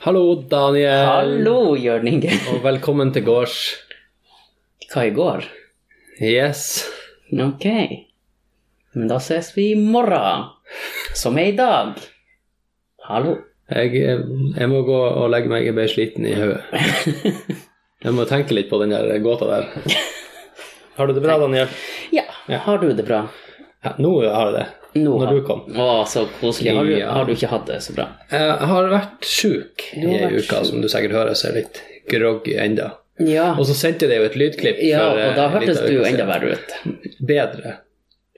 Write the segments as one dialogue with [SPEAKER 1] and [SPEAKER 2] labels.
[SPEAKER 1] Hallo, Daniel.
[SPEAKER 2] Hallo, Jørn Inge.
[SPEAKER 1] Og velkommen til gårds.
[SPEAKER 2] Hva i går?
[SPEAKER 1] Yes.
[SPEAKER 2] Ok. Men da ses vi i morgen. Som er i dag. Hallo.
[SPEAKER 1] Jeg, jeg må gå og legge meg, jeg ble sliten i hodet. Jeg må tenke litt på den der gåta der. Har du det bra, Daniel?
[SPEAKER 2] Ja, har du det bra?
[SPEAKER 1] Ja, nå har jeg det.
[SPEAKER 2] Nå
[SPEAKER 1] Når
[SPEAKER 2] har-
[SPEAKER 1] du kom.
[SPEAKER 2] Å, så koselig. Har du,
[SPEAKER 1] Ja.
[SPEAKER 2] har du ikke hatt det så bra?
[SPEAKER 1] Jeg har vært sjuk i
[SPEAKER 2] Du har
[SPEAKER 1] ei
[SPEAKER 2] vært
[SPEAKER 1] uke, som du sikkert hører, så jeg er litt groggy enda.
[SPEAKER 2] Ja.
[SPEAKER 1] Og så sendte jeg deg jo et lydklipp.
[SPEAKER 2] Ja,
[SPEAKER 1] for, eh,
[SPEAKER 2] og da
[SPEAKER 1] en
[SPEAKER 2] hørtes
[SPEAKER 1] liten
[SPEAKER 2] du
[SPEAKER 1] uke
[SPEAKER 2] enda
[SPEAKER 1] siden.
[SPEAKER 2] verre ut.
[SPEAKER 1] Bedre.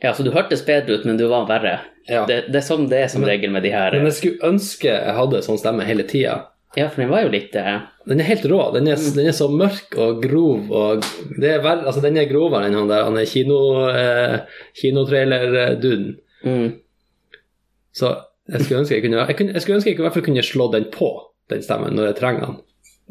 [SPEAKER 2] Ja, så du hørtes bedre ut, men du var verre.
[SPEAKER 1] Ja.
[SPEAKER 2] Det, det er sånn det er som regel med de
[SPEAKER 1] Men
[SPEAKER 2] her.
[SPEAKER 1] jeg skulle ønske jeg hadde sånn stemme hele tida.
[SPEAKER 2] Ja, for den var jo litt eh,
[SPEAKER 1] Den er helt rå. Den er, den er så mørk og grov. Og det er vel, altså, den er grovere enn han der han er kino, eh, kinotrailer-duden.
[SPEAKER 2] mm.
[SPEAKER 1] Så jeg skulle ønske jeg kunne, jeg kunne, jeg skulle ønske jeg i hvert fall kunne slå den på, den stemmen, når jeg trenger den.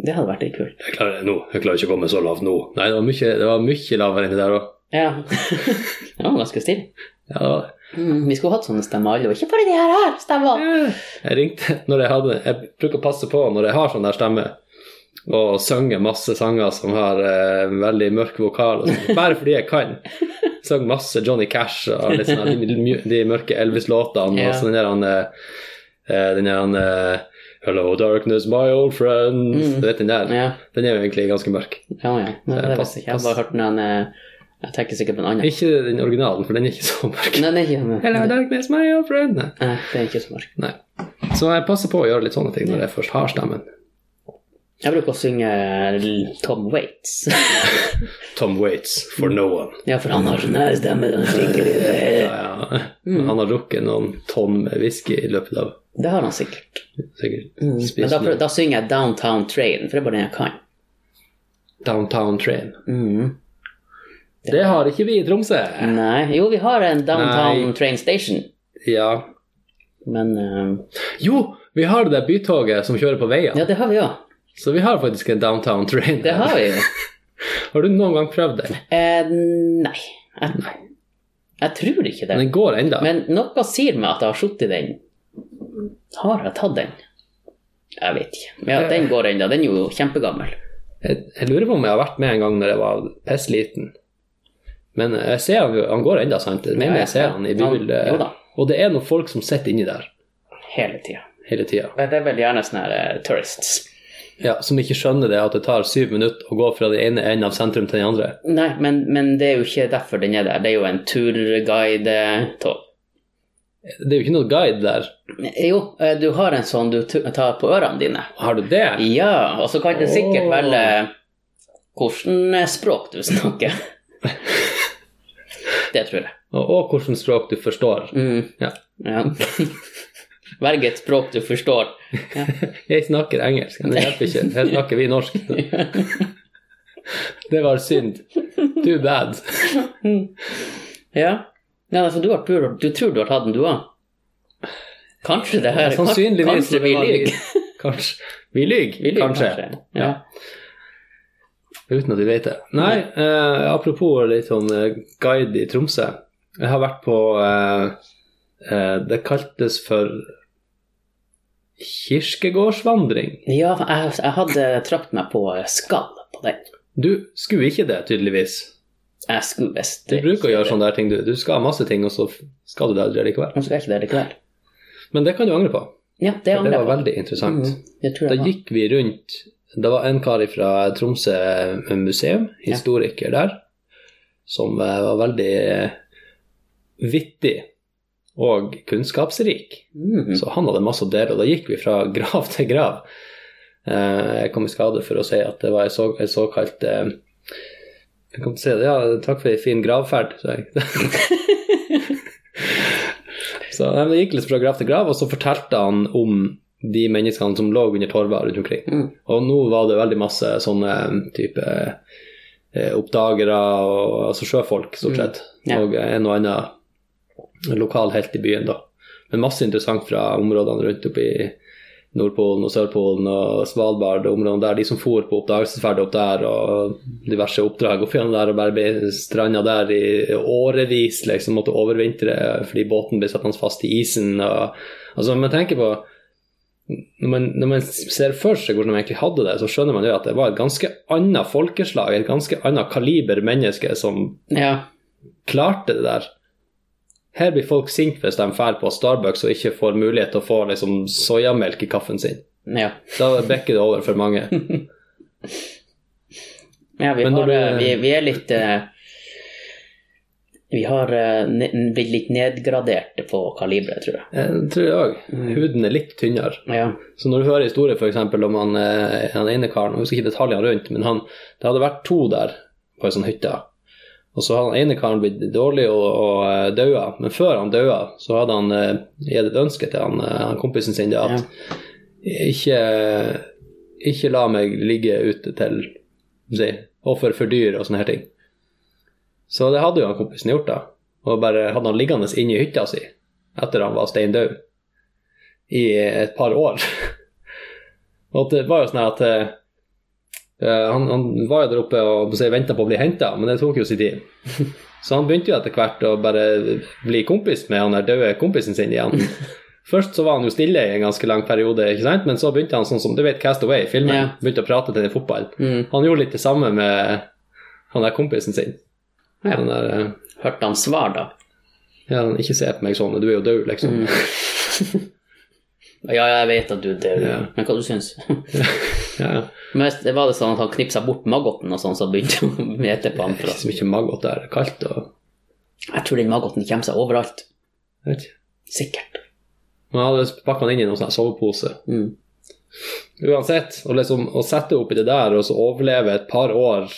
[SPEAKER 2] Det hadde vært litt kult.
[SPEAKER 1] Jeg klarer det nå. Jeg klarer ikke å komme så lavt nå. Nei, det var mye, det var mye lavere enn det der òg.
[SPEAKER 2] Ja. Det var ganske stille.
[SPEAKER 1] Ja, det var det.
[SPEAKER 2] Mm, vi skulle hatt sånne stemmer alle, og ikke bare de her her stemmer.
[SPEAKER 1] Jeg ringte når jeg hadde Jeg bruker å passe på når jeg har sånn der stemme, og synge masse sanger som har eh, veldig mørk vokal, og sånn, bare fordi jeg kan. Sang masse Johnny Cash og litt sånn, de, de mørke Elvis-låtene,
[SPEAKER 2] Ja.
[SPEAKER 1] og så den der han, eh, eh, den der han eh, Hello, darkness, my old friend.
[SPEAKER 2] Mm.
[SPEAKER 1] Du vet den der?
[SPEAKER 2] Ja.
[SPEAKER 1] Den er jo egentlig ganske mørk.
[SPEAKER 2] Ja, ja. Men det
[SPEAKER 1] pass-
[SPEAKER 2] visste jeg ikke. Jeg har
[SPEAKER 1] pass.
[SPEAKER 2] bare hørt den eh, Jeg tenker sikkert på en annen.
[SPEAKER 1] Ikke den originalen, for den er ikke så mørk.
[SPEAKER 2] Nei, nei, ikke den.
[SPEAKER 1] Hello,
[SPEAKER 2] Nei,
[SPEAKER 1] darkness, my old friend. Nei.
[SPEAKER 2] det er ikke så mørkt.
[SPEAKER 1] Nei. Så jeg passer på å gjøre litt sånne ting når jeg først har stemmen.
[SPEAKER 2] Jeg bruker å synge L- Tom Waits.
[SPEAKER 1] Tom Waits, for no one.
[SPEAKER 2] ja, for han har sånn her stemme. den skikkelig-
[SPEAKER 1] Ja, ja.
[SPEAKER 2] Mm.
[SPEAKER 1] Han har drukket noen tonn med whisky i løpet av
[SPEAKER 2] Det har han sikkert.
[SPEAKER 1] sikkert
[SPEAKER 2] Mm. Men
[SPEAKER 1] spist
[SPEAKER 2] da,
[SPEAKER 1] noe.
[SPEAKER 2] da synger jeg Downtown Train, for det er bare den jeg kan.
[SPEAKER 1] Downtown Train.
[SPEAKER 2] Mm.
[SPEAKER 1] Det har ikke vi i Tromsø.
[SPEAKER 2] Nei Jo, vi har en Downtown
[SPEAKER 1] Nei.
[SPEAKER 2] Train Station,
[SPEAKER 1] Ja.
[SPEAKER 2] men eh,
[SPEAKER 1] Jo, vi har det der bytoget som kjører på veien.
[SPEAKER 2] Ja, det har vi jo.
[SPEAKER 1] Så vi har faktisk en Downtown Train.
[SPEAKER 2] Det har vi jo.
[SPEAKER 1] Har du noen gang prøvd den?
[SPEAKER 2] Eh, nei. Jeg, jeg tror ikke det.
[SPEAKER 1] Den går ennå.
[SPEAKER 2] Men noe sier meg at jeg har sittet i den. Har jeg tatt den? Jeg vet ikke. Men ja, den går ennå. Den er jo kjempegammel.
[SPEAKER 1] Jeg, jeg lurer på om jeg har vært med en gang når jeg var pissliten. Men jeg ser han, han går ennå, sant? Jeg mener jeg ser han i
[SPEAKER 2] Ja, jo da.
[SPEAKER 1] bybildet. Og det er noen folk som sitter inni der
[SPEAKER 2] Hele tida.
[SPEAKER 1] hele tida.
[SPEAKER 2] Men Det er vel gjerne sånne her eh, tourists.
[SPEAKER 1] Ja, som ikke skjønner det at det tar syv minutter å gå fra den ene enden av sentrum til den andre.
[SPEAKER 2] Nei, men, men det er jo ikke derfor den er der. Det er jo en turguide-tog.
[SPEAKER 1] Det er jo ikke noe guide der.
[SPEAKER 2] Jo, eh, du har en sånn du tu- tar på ørene dine.
[SPEAKER 1] Har du det?
[SPEAKER 2] Ja, og så kan det sikkert
[SPEAKER 1] Åh.
[SPEAKER 2] velge hvilket eh, språk du snakker. Det tror jeg.
[SPEAKER 1] Og, og hvilket språk du forstår.
[SPEAKER 2] Mm.
[SPEAKER 1] Ja.
[SPEAKER 2] Ja. Velg et språk du forstår.
[SPEAKER 1] Jeg snakker engelsk, men det hjelper ikke. Her snakker vi norsk. Det var synd. Too bad.
[SPEAKER 2] Ja. ja altså, du, har, du, du tror du har tatt den, du òg? Kanskje det her
[SPEAKER 1] Sannsynligvis.
[SPEAKER 2] Kanskje vi
[SPEAKER 1] det var-
[SPEAKER 2] lyver.
[SPEAKER 1] Kanskje. Vi lyver,
[SPEAKER 2] Vi lyver,
[SPEAKER 1] kanskje.
[SPEAKER 2] Ja.
[SPEAKER 1] Uten at vi vet det. Nei, eh, apropos litt sånn eh, guide i Tromsø. Jeg har vært på eh, eh, Det kaltes for kirkegårdsvandring.
[SPEAKER 2] ja, jeg, jeg hadde trakt meg på skall på den.
[SPEAKER 1] Du skulle ikke det, tydeligvis.
[SPEAKER 2] Jeg skulle visst
[SPEAKER 1] Du bruker å gjøre sånn. sånne der ting. Du, du skal ha masse ting, og så f- skal du det aldri likevel.
[SPEAKER 2] Nå skal jeg ikke det likevel.
[SPEAKER 1] Men det kan du angre på.
[SPEAKER 2] Ja, det
[SPEAKER 1] for Det
[SPEAKER 2] angrer jeg
[SPEAKER 1] var
[SPEAKER 2] på.
[SPEAKER 1] veldig interessant.
[SPEAKER 2] Mhm, jeg tror
[SPEAKER 1] Da
[SPEAKER 2] jeg var.
[SPEAKER 1] gikk vi rundt Det var en kar fra Tromsø museum, historiker der, som eh, var veldig eh, vittig og kunnskapsrik.
[SPEAKER 2] Mhm.
[SPEAKER 1] Så han hadde masse å dele, og da gikk vi fra grav til grav. Eh, Jeg kom i skade for å si at det var en så, en såkalt eh, Jeg kom til å si det, ja, takk for ei en fin gravferd, sa jeg. så nei, men det gikk litt fra grav til grav, og så fortalte han om de menneskene som lå under torva rundt omkring.
[SPEAKER 2] Mm.
[SPEAKER 1] Og nå var det veldig masse sånne mm, type eh, oppdagere, og, altså sjøfolk stort
[SPEAKER 2] Mm.
[SPEAKER 1] sett,
[SPEAKER 2] Ja.
[SPEAKER 1] og en og annen lokal helt i byen da. Men masse interessant fra områdene rundt oppi Nordpolen og Sørpolen og Svalbard og områdene der, de som for på oppdagelsesferd opp der og diverse oppdrag opp igjen der og bare ble stranda der i årevis, liksom måtte overvintre fordi båten ble satt fast i isen og Altså, man tenker på når man, når man ser for seg hvordan de egentlig hadde det, så skjønner man jo at det var et ganske annet folkeslag, et ganske annet kaliber menneske som
[SPEAKER 2] Ja.
[SPEAKER 1] klarte det der. Her blir folk sinte hvis de drar på Starbucks og ikke får mulighet til å få liksom, soyamelk i kaffen sin.
[SPEAKER 2] ja.
[SPEAKER 1] Da bikker det over for mange.
[SPEAKER 2] Ja, vi,
[SPEAKER 1] Men når
[SPEAKER 2] har, eh,
[SPEAKER 1] du-
[SPEAKER 2] vi, vi er litt eh, Vi har eh, ne blitt litt nedgraderte på kaliberet, tror jeg. Mm.
[SPEAKER 1] Jeg tror jeg òg. Huden er litt tynnere.
[SPEAKER 2] Ja.
[SPEAKER 1] Så når du hører historier f.eks. om han, eh, han ene karen, jeg husker ikke detaljene rundt, men han, det hadde vært to der på ei sånn hytte. Og så hadde han ene karen blitt dårlig og, og eh, daua, men før han daua, så hadde han eh, gitt et ønske til han, eh, han kompisen sin det at ikke, ikke la meg ligge ute til si, offer for dyr og sånne her ting. Så det hadde jo han kompisen gjort, da. Og bare hadde han liggende inne i hytta si etter han var stein død i et par år. og det var jo sånn her at eh, han, han var jo der oppe og venta på å bli henta, men det tok jo sin tid. Så han begynte jo etter hvert å bare bli kompis med han der døde kompisen sin igjen. Først så var han jo stille i en ganske lang periode, ikke sant? men så begynte han sånn som du vet Cast Away, filmen.
[SPEAKER 2] Ja.
[SPEAKER 1] Begynte å prate til den fotballen.
[SPEAKER 2] Mm.
[SPEAKER 1] Han gjorde litt det samme med han der kompisen sin.
[SPEAKER 2] Ja.
[SPEAKER 1] Han der, eh,
[SPEAKER 2] Hørte han svar, da?
[SPEAKER 1] ja, han, ikke se på meg sånn, du er jo død, liksom.
[SPEAKER 2] Mm. Ja, jeg vet at du er død,
[SPEAKER 1] Ja.
[SPEAKER 2] men hva du syns
[SPEAKER 1] Ja, ja.
[SPEAKER 2] Men hvis det var det sånn at han knipsa bort maggoten og sånn, så begynte han å mete på han. for
[SPEAKER 1] Ikke
[SPEAKER 2] at-
[SPEAKER 1] så mye maggot der, det er kaldt og
[SPEAKER 2] Jeg tror den maggoten kommer seg overalt.
[SPEAKER 1] jeg vet ikke.
[SPEAKER 2] Sikkert.
[SPEAKER 1] Man hadde pakket han inn i noen sånn her sovepose.
[SPEAKER 2] Mm.
[SPEAKER 1] Uansett, å, liksom, å sette opp i det der og så overleve et par år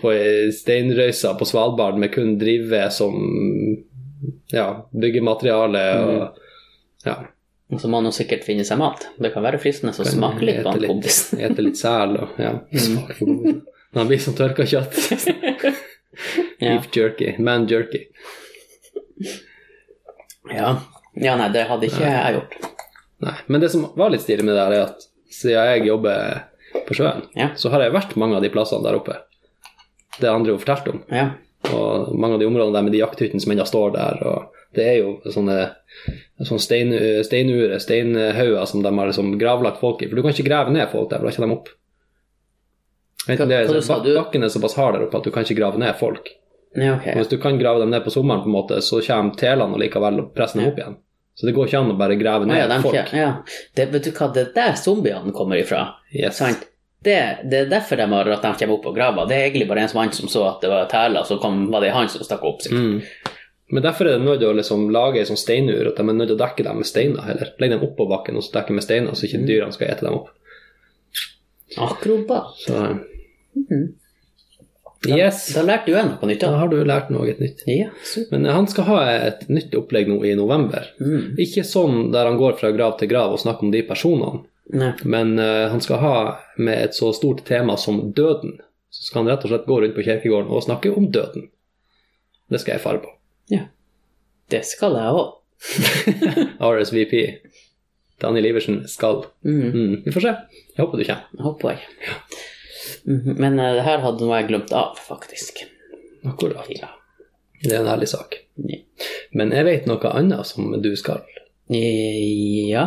[SPEAKER 1] på ei steinrøysa på Svalbard med kun drivved som ja, byggemateriale og ja,
[SPEAKER 2] Og så må han jo sikkert finne seg mat. Det kan være fristende å smake litt på
[SPEAKER 1] ete
[SPEAKER 2] han
[SPEAKER 1] litt,
[SPEAKER 2] kompisen.
[SPEAKER 1] ete litt sel og ja, smak for kompisen. Han blir som tørka kjøtt.
[SPEAKER 2] Ja.
[SPEAKER 1] Beef jerky. Man jerky.
[SPEAKER 2] Ja. ja, nei, det hadde ikke jeg gjort.
[SPEAKER 1] Nei. Men det som var litt stilig med det her, er at siden jeg jobber på sjøen,
[SPEAKER 2] Ja.
[SPEAKER 1] så har jeg vært mange av de plassene der oppe. Det andre jo fortalte om.
[SPEAKER 2] Ja.
[SPEAKER 1] Og mange av de områdene der med de jakthyttene som ennå står der. og Det er jo sånne, sånne stein, steinure, steinhauger som de har liksom gravlagt folk i. For du kan ikke grave ned folk der, for da kommer de opp. Enten det,
[SPEAKER 2] Hva- hva
[SPEAKER 1] er-
[SPEAKER 2] sa du?
[SPEAKER 1] bakken er såpass hard der oppe at du kan ikke grave ned folk.
[SPEAKER 2] ja, ok.
[SPEAKER 1] Og hvis du kan grave dem ned på sommeren, på en måte, så kommer telene allikevel og presser dem opp igjen. Så det går ikke an å bare grave
[SPEAKER 2] Å
[SPEAKER 1] ned
[SPEAKER 2] ja, de
[SPEAKER 1] folk.
[SPEAKER 2] ikke- ja. Det, vet du hva, det er der zombiene kommer ifra.
[SPEAKER 1] Yes.
[SPEAKER 2] Sant? Det, det er derfor de har at de kommer opp og graver. Det er egentlig bare en som han som så at det var tæler, så kom, var det han som stakk opp. sikkert.
[SPEAKER 1] Mm. Men derfor er de nødt til å liksom lage ei sånn steinur, at de er nødt til å dekke dem med steiner heller. Legge dem oppå bakken og så dekke med steiner, så ikke dyrene skal ete dem opp. Mm.
[SPEAKER 2] Akrobat.
[SPEAKER 1] Så Yes!
[SPEAKER 2] Da lærte jo jeg noe nytt.
[SPEAKER 1] Da
[SPEAKER 2] da.
[SPEAKER 1] har du lært noe nytt.
[SPEAKER 2] Ja, super.
[SPEAKER 1] Men eh, han skal ha et nytt opplegg nå i november.
[SPEAKER 2] Mm.
[SPEAKER 1] Ikke sånn der han går fra grav til grav og snakker om de personene,
[SPEAKER 2] Nei.
[SPEAKER 1] men eh, han skal ha med et så stort tema som døden. Så skal han rett og slett gå rundt på kirkegården og snakke om døden. Det skal jeg fare på.
[SPEAKER 2] Det skal jeg òg.
[SPEAKER 1] RSVP. Daniel Iversen skal.
[SPEAKER 2] Mm.
[SPEAKER 1] Mm, vi får se. Jeg håper du kommer.
[SPEAKER 2] Håper jeg. Mhm, Men eh, det her hadde noe jeg glemt av, faktisk.
[SPEAKER 1] Akkurat.
[SPEAKER 2] Ja.
[SPEAKER 1] Det er en ærlig sak.
[SPEAKER 2] Ja.
[SPEAKER 1] Men jeg vet noe annet som du skal.
[SPEAKER 2] Eh, ja.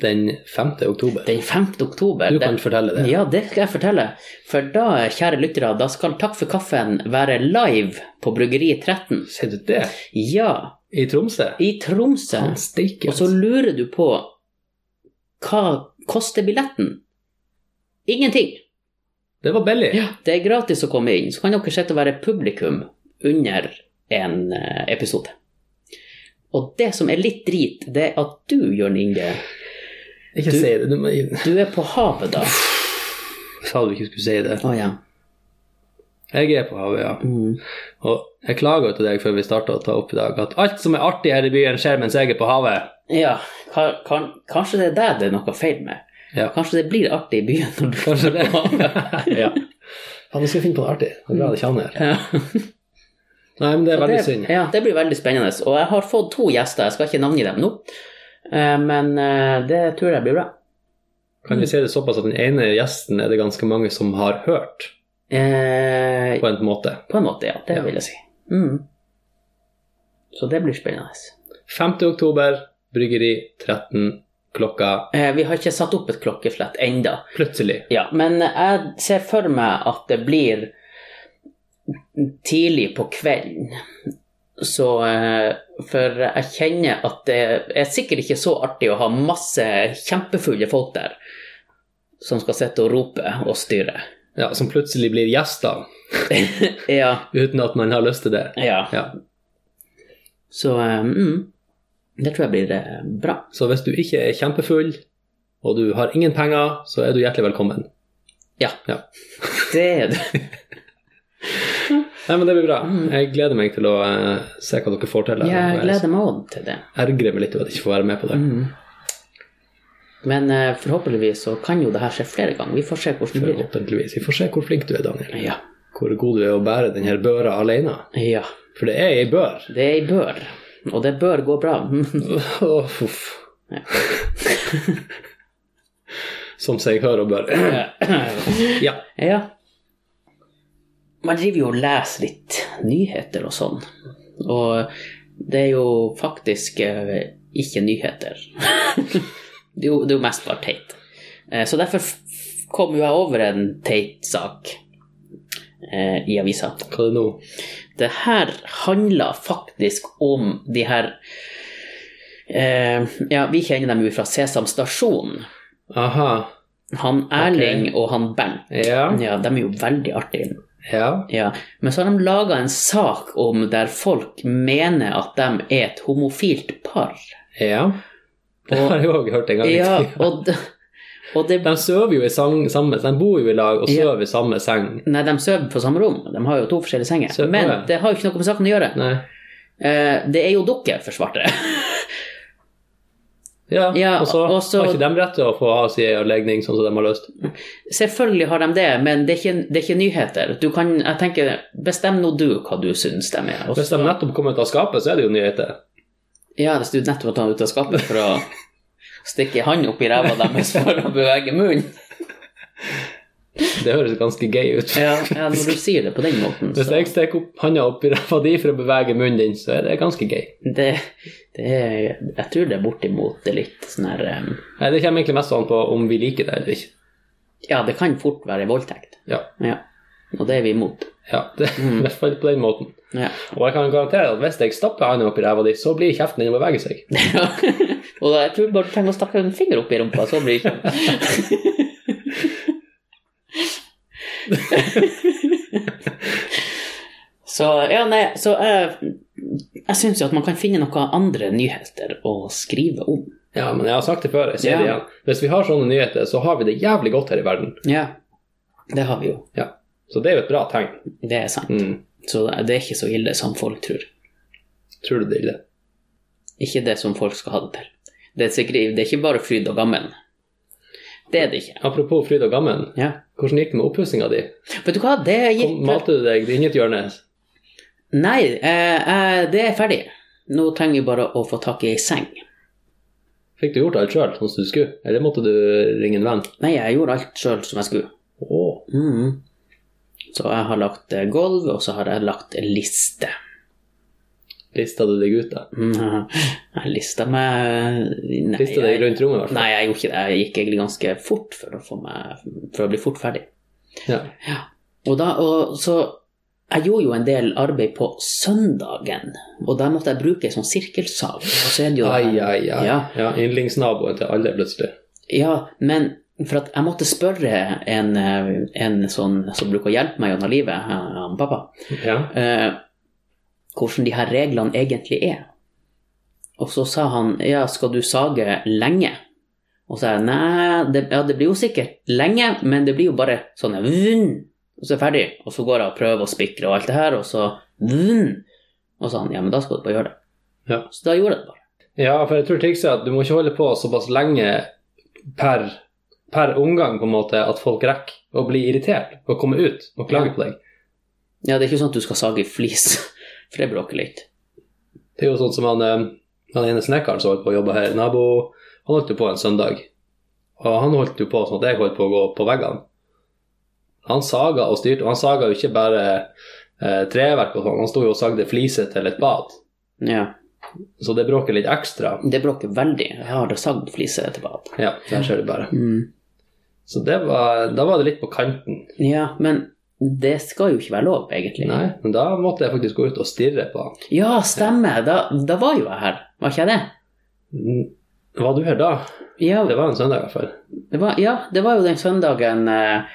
[SPEAKER 1] Den 5. oktober.
[SPEAKER 2] Den 5. oktober.
[SPEAKER 1] Du
[SPEAKER 2] den-
[SPEAKER 1] kan fortelle det.
[SPEAKER 2] Ja, det skal jeg fortelle. For da, kjære lyttere, da skal Takk for kaffen være live på Bryggeri 13.
[SPEAKER 1] Ser du det?
[SPEAKER 2] Ja,
[SPEAKER 1] I Tromsø? altså.
[SPEAKER 2] i Tromsø.
[SPEAKER 1] Han stikker.
[SPEAKER 2] Og så lurer du på hva koster billetten? Ingenting.
[SPEAKER 1] Det var billig.
[SPEAKER 2] Ja, det er gratis å komme inn. Så kan dere sitte og være publikum under en eh, episode. Og det som er litt drit, det er at du, Jørn Inge,
[SPEAKER 1] Ikke
[SPEAKER 2] Du-
[SPEAKER 1] si det. Du, må-
[SPEAKER 2] du er på havet da.
[SPEAKER 1] sa du ikke skulle si det.
[SPEAKER 2] Å ja.
[SPEAKER 1] Jeg er på havet, ja.
[SPEAKER 2] Mm.
[SPEAKER 1] Og jeg klager jo til deg før vi starta å ta opp i dag, at alt som er artig her i byen, skjer mens jeg er på havet.
[SPEAKER 2] Ja, ka- kan, kanskje det er der det er noe feil med.
[SPEAKER 1] Ja.
[SPEAKER 2] Kanskje det blir artig i byen når du
[SPEAKER 1] Kanskje det. ja. Faen, nå skal jeg finne på noe artig. Det er bra det ikke han er.
[SPEAKER 2] Ja,
[SPEAKER 1] Nei, men det er veldig
[SPEAKER 2] det,
[SPEAKER 1] synd.
[SPEAKER 2] ja, det blir veldig spennende. Og jeg har fått to gjester, jeg skal ikke navngi dem nå. Eh, Men eh, det tror jeg blir bra.
[SPEAKER 1] Kan vi si det såpass at den ene gjesten er det ganske mange som har hørt,
[SPEAKER 2] Eh,
[SPEAKER 1] på en måte.
[SPEAKER 2] På en måte, ja. Det
[SPEAKER 1] Ja.
[SPEAKER 2] vil jeg si. Mm. Så det blir spennende.
[SPEAKER 1] 5. oktober, Bryggeri 13 klokka
[SPEAKER 2] Eh, Vi har ikke satt opp et klokkeslett enda.
[SPEAKER 1] plutselig.
[SPEAKER 2] Ja, men jeg ser for meg at det blir tidlig på kvelden. Så eh, For jeg kjenner at det er sikkert ikke så artig å ha masse kjempefulle folk der som skal sitte og rope og styre.
[SPEAKER 1] Ja, som plutselig blir gjester,
[SPEAKER 2] Ja,
[SPEAKER 1] uten at man har lyst til det.
[SPEAKER 2] ja.
[SPEAKER 1] Ja.
[SPEAKER 2] Så eh, mm, det tror jeg blir eh, bra.
[SPEAKER 1] Så hvis du ikke er kjempefull, og du har ingen penger, så er du hjertelig velkommen.
[SPEAKER 2] Ja.
[SPEAKER 1] Ja.
[SPEAKER 2] Det er det.
[SPEAKER 1] Nei, men det blir bra.
[SPEAKER 2] Mm.
[SPEAKER 1] Jeg gleder meg til å eh, se hva dere får til. her.
[SPEAKER 2] Jeg gleder meg òg til det.
[SPEAKER 1] Jeg ergrer meg litt over at jeg ikke får være med på det.
[SPEAKER 2] Mm. Men eh, forhåpentligvis så kan jo det her skje flere ganger. Vi får se hvordan det blir.
[SPEAKER 1] Forhåpentligvis. Vi får se hvor flink du er, Daniel.
[SPEAKER 2] Ja.
[SPEAKER 1] Hvor god du er å bære denne børa alene.
[SPEAKER 2] ja.
[SPEAKER 1] For det er ei bør.
[SPEAKER 2] Det er ei bør, og det bør gå bra.
[SPEAKER 1] Åh, uff.
[SPEAKER 2] Ja.
[SPEAKER 1] Som seg hør og bør. Ja.
[SPEAKER 2] ja. Man driver jo og leser litt nyheter og sånn. Og det er jo faktisk eh, ikke nyheter. det, er jo, det er jo mest bare teit. Eh, Så derfor f- kom jo jeg over en teit sak eh, i avisa.
[SPEAKER 1] Hva er det nå?
[SPEAKER 2] det her handler faktisk om de her eh, Ja, vi kjenner dem jo fra Sesam stasjon.
[SPEAKER 1] Aha.
[SPEAKER 2] Han Erling og han Bernt.
[SPEAKER 1] Ja.
[SPEAKER 2] Ja, de er jo veldig artige.
[SPEAKER 1] Ja.
[SPEAKER 2] Ja. Men så har de laga en sak om der folk mener at de er et homofilt par.
[SPEAKER 1] ja. Det har jeg òg hørt en gang. i
[SPEAKER 2] Ja,
[SPEAKER 1] tiden.
[SPEAKER 2] og, d- og det
[SPEAKER 1] De sover jo i sang, samme De bor jo i lag og sover i samme seng.
[SPEAKER 2] Nei, de sover på samme rom. De har jo to forskjellige senger.
[SPEAKER 1] Sover,
[SPEAKER 2] Men
[SPEAKER 1] ja.
[SPEAKER 2] det har jo ikke noe med saken å gjøre.
[SPEAKER 1] Nei.
[SPEAKER 2] Eh, det er jo dere, for svarte.
[SPEAKER 1] Ja,
[SPEAKER 2] Ja,
[SPEAKER 1] og så
[SPEAKER 2] og så-
[SPEAKER 1] har ikke de rett til å få ha sin legning sånn som de har lyst.
[SPEAKER 2] Selvfølgelig har de det, men det er ikke, det er ikke nyheter. Du kan, jeg tenker, Bestem nå du hva du syns de er. Og
[SPEAKER 1] Hvis de
[SPEAKER 2] så-
[SPEAKER 1] nettopp kommer ut av skapet, så er det jo nyheter.
[SPEAKER 2] Ja, hvis du nettopp har tatt ut av skapet for å stikke hånd opp i ræva deres for å bevege munnen.
[SPEAKER 1] Det høres ganske gøy ut.
[SPEAKER 2] Ja, ja, når du sier det på den måten,
[SPEAKER 1] Hvis
[SPEAKER 2] så
[SPEAKER 1] jeg stikker opp handa opp i ræva di for å bevege munnen din, så er det ganske gøy.
[SPEAKER 2] det, det er, Jeg tror det er bortimot det er litt sånn her eh,
[SPEAKER 1] Nei, Det kommer egentlig mest an på om vi liker det eller ikke.
[SPEAKER 2] Ja, det kan fort være voldtekt.
[SPEAKER 1] Ja,
[SPEAKER 2] Ja. Og det er vi imot.
[SPEAKER 1] ja det, I hvert fall på den måten.
[SPEAKER 2] Ja.
[SPEAKER 1] Og jeg kan garantere at hvis jeg stapper handa opp i ræva di, så blir kjeften din å bevege seg.
[SPEAKER 2] Og jeg tror bare du trenger å stakke en finger opp i rumpa, så blir det ikke Så ja, nei, så jeg, jeg syns jo at man kan finne noen andre nyheter å skrive om.
[SPEAKER 1] Ja, men jeg har sagt det før, jeg sier det
[SPEAKER 2] Ja.
[SPEAKER 1] igjen. Hvis vi har sånne nyheter, så har vi det jævlig godt her i verden.
[SPEAKER 2] Ja, det har vi jo.
[SPEAKER 1] Ja. Så det er jo et bra tegn.
[SPEAKER 2] Det er sant.
[SPEAKER 1] Mm.
[SPEAKER 2] Så det er ikke så ille som folk tror.
[SPEAKER 1] Tror du det er ille?
[SPEAKER 2] Ikke det som folk skal ha det til. Det er, sikkert, det er ikke bare fryd og gammen. Det er det ikke.
[SPEAKER 1] Apropos fryd og gammen,
[SPEAKER 2] Ja.
[SPEAKER 1] hvordan gikk det med oppussinga di?
[SPEAKER 2] Vet du hva, det gikk
[SPEAKER 1] Kom, malte du deg inget hjørne?
[SPEAKER 2] Nei, eh, eh, det er ferdig. Nå trenger vi bare å få tak i ei seng.
[SPEAKER 1] Fikk du gjort alt sjøl, sånn som du skulle? Eller måtte du ringe en venn?
[SPEAKER 2] Nei, jeg gjorde alt sjøl som jeg skulle.
[SPEAKER 1] Åh.
[SPEAKER 2] Mhm. Så jeg har lagt eh, gulv, og så har jeg lagt en liste.
[SPEAKER 1] Lista du deg ut, da?
[SPEAKER 2] Mhm. Jeg lista meg Nei,
[SPEAKER 1] Lista deg
[SPEAKER 2] jeg,
[SPEAKER 1] rundt rommet, i hvert fall?
[SPEAKER 2] nei, jeg gjorde ikke det. Jeg gikk egentlig ganske fort for å, få meg, for å bli fort ferdig.
[SPEAKER 1] Ja.
[SPEAKER 2] Og da, og så Jeg gjorde jo en del arbeid på søndagen, og da måtte jeg bruke ei sånn sirkelsag. Og så er det jo det her-
[SPEAKER 1] Ai, ai, ai.
[SPEAKER 2] Ja.
[SPEAKER 1] Ja. Yndlingsnaboen til alle, plutselig.
[SPEAKER 2] Ja, men for at jeg måtte spørre en, eh, en sånn som bruker å hjelpe meg gjennom livet, eh, han pappa,
[SPEAKER 1] Ja.
[SPEAKER 2] eh, hvordan de her reglene egentlig er. Og så sa han, ja, skal du sage lenge? Og så sa jeg, nei, det, ja, det blir jo sikkert lenge, men det blir jo bare sånn, ja, vunn, og så er jeg ferdig. Og så går jeg og prøver å spikre og alt det her, og så vunn. Og så sa han, ja, men da skal du bare gjøre det.
[SPEAKER 1] Ja.
[SPEAKER 2] Så da gjorde jeg det bare.
[SPEAKER 1] ja, for jeg tror trikset er at du må ikke holde på såpass lenge per, per omgang, på en måte, at folk rekker å bli irritert og komme ut og klage
[SPEAKER 2] Ja.
[SPEAKER 1] på deg.
[SPEAKER 2] Ja, det er ikke sånn at du skal sage flis, for det bråker litt.
[SPEAKER 1] Det er jo sånn som han, eh, han ene snekkeren som holdt på å jobbe her, nabo, han holdt jo på en søndag. Og han holdt jo på sånn at jeg holdt på å gå på veggene. Han saga og styrte, og han saga jo ikke bare eh, treverk og sånn, han sto jo og sagde fliser til et bad.
[SPEAKER 2] Ja.
[SPEAKER 1] Så det bråker litt ekstra.
[SPEAKER 2] Det bråker veldig. Jeg har sagd fliser etterpå.
[SPEAKER 1] Ja, der ser du bare.
[SPEAKER 2] Mm.
[SPEAKER 1] Så det var, da var det litt på kanten.
[SPEAKER 2] Ja, men det skal jo ikke være lov, egentlig.
[SPEAKER 1] Nei, men da måtte jeg faktisk gå ut og stirre på han.
[SPEAKER 2] Ja, stemmer. Da, da var jo jeg her, var ikke jeg det?
[SPEAKER 1] Mm, Var du her da?
[SPEAKER 2] Ja,
[SPEAKER 1] Det var en søndag i hvert fall.
[SPEAKER 2] det var, ja, det var jo den søndagen eh,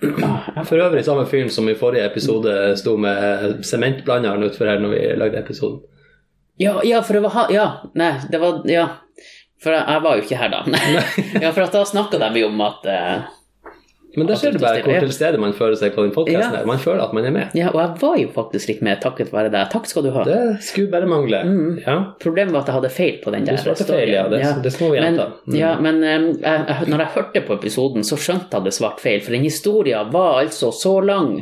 [SPEAKER 2] ja,
[SPEAKER 1] For øvrig samme fyren som i forrige episode sto med sementblanderen utfor her når vi lagde episoden.
[SPEAKER 2] Ja, ja, for det var ha- Ja, nei, det var Ja. For jeg, jeg var jo ikke her da. ja, for at da snakka de jo om at eh,
[SPEAKER 1] Men der ser du bare hvor til stede man føler seg på den podkasten
[SPEAKER 2] Ja.
[SPEAKER 1] her. Man føler at man er med.
[SPEAKER 2] Ja, og jeg var jo faktisk litt med takket være deg. Takk skal du ha.
[SPEAKER 1] Det skulle bare mangle.
[SPEAKER 2] Mm.
[SPEAKER 1] Ja.
[SPEAKER 2] Problemet var at jeg hadde feil på den
[SPEAKER 1] Du
[SPEAKER 2] der.
[SPEAKER 1] svarte
[SPEAKER 2] storyen.
[SPEAKER 1] feil, ja. Det, det må vi
[SPEAKER 2] Men,
[SPEAKER 1] gjenta. Mm.
[SPEAKER 2] ja, men eh, jeg, jeg, når jeg hørte på episoden, så skjønte jeg det svart feil. For den historien var altså så lang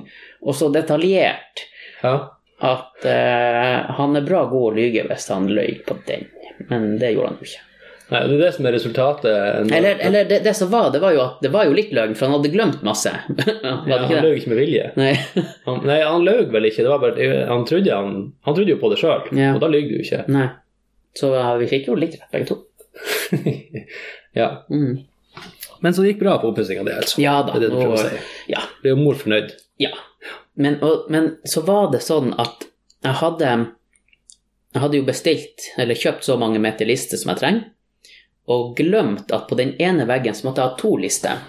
[SPEAKER 2] og så detaljert
[SPEAKER 1] Ja.
[SPEAKER 2] at eh, han er bra god å lyge hvis han løy på den. Men det gjorde han jo ikke.
[SPEAKER 1] Nei, det er det som er resultatet.
[SPEAKER 2] Eller, eller det, det som var, det var jo at det var jo litt løgn, for han hadde glemt masse. var
[SPEAKER 1] ja,
[SPEAKER 2] det ikke
[SPEAKER 1] han
[SPEAKER 2] det?
[SPEAKER 1] løy ikke med vilje.
[SPEAKER 2] Nei.
[SPEAKER 1] Han, nei, han løy vel ikke. Det var bare, han, trodde han, han trodde jo på det sjøl,
[SPEAKER 2] Ja.
[SPEAKER 1] og da lyver du jo ikke.
[SPEAKER 2] Nei. Så eh, vi fikk jo litt rett, begge to.
[SPEAKER 1] ja.
[SPEAKER 2] Mm.
[SPEAKER 1] Men så det gikk bra på oppussinga di, altså.
[SPEAKER 2] Ja
[SPEAKER 1] Det
[SPEAKER 2] da.
[SPEAKER 1] er det du prøver å
[SPEAKER 2] Og,
[SPEAKER 1] si.
[SPEAKER 2] ja,
[SPEAKER 1] Ble jo mor fornøyd.
[SPEAKER 2] Ja. Men, og, men så var det sånn at jeg hadde Jeg hadde jo bestilt, eller kjøpt så mange meter lister som jeg trenger, og glemt at på den ene veggen så måtte jeg ha to lister.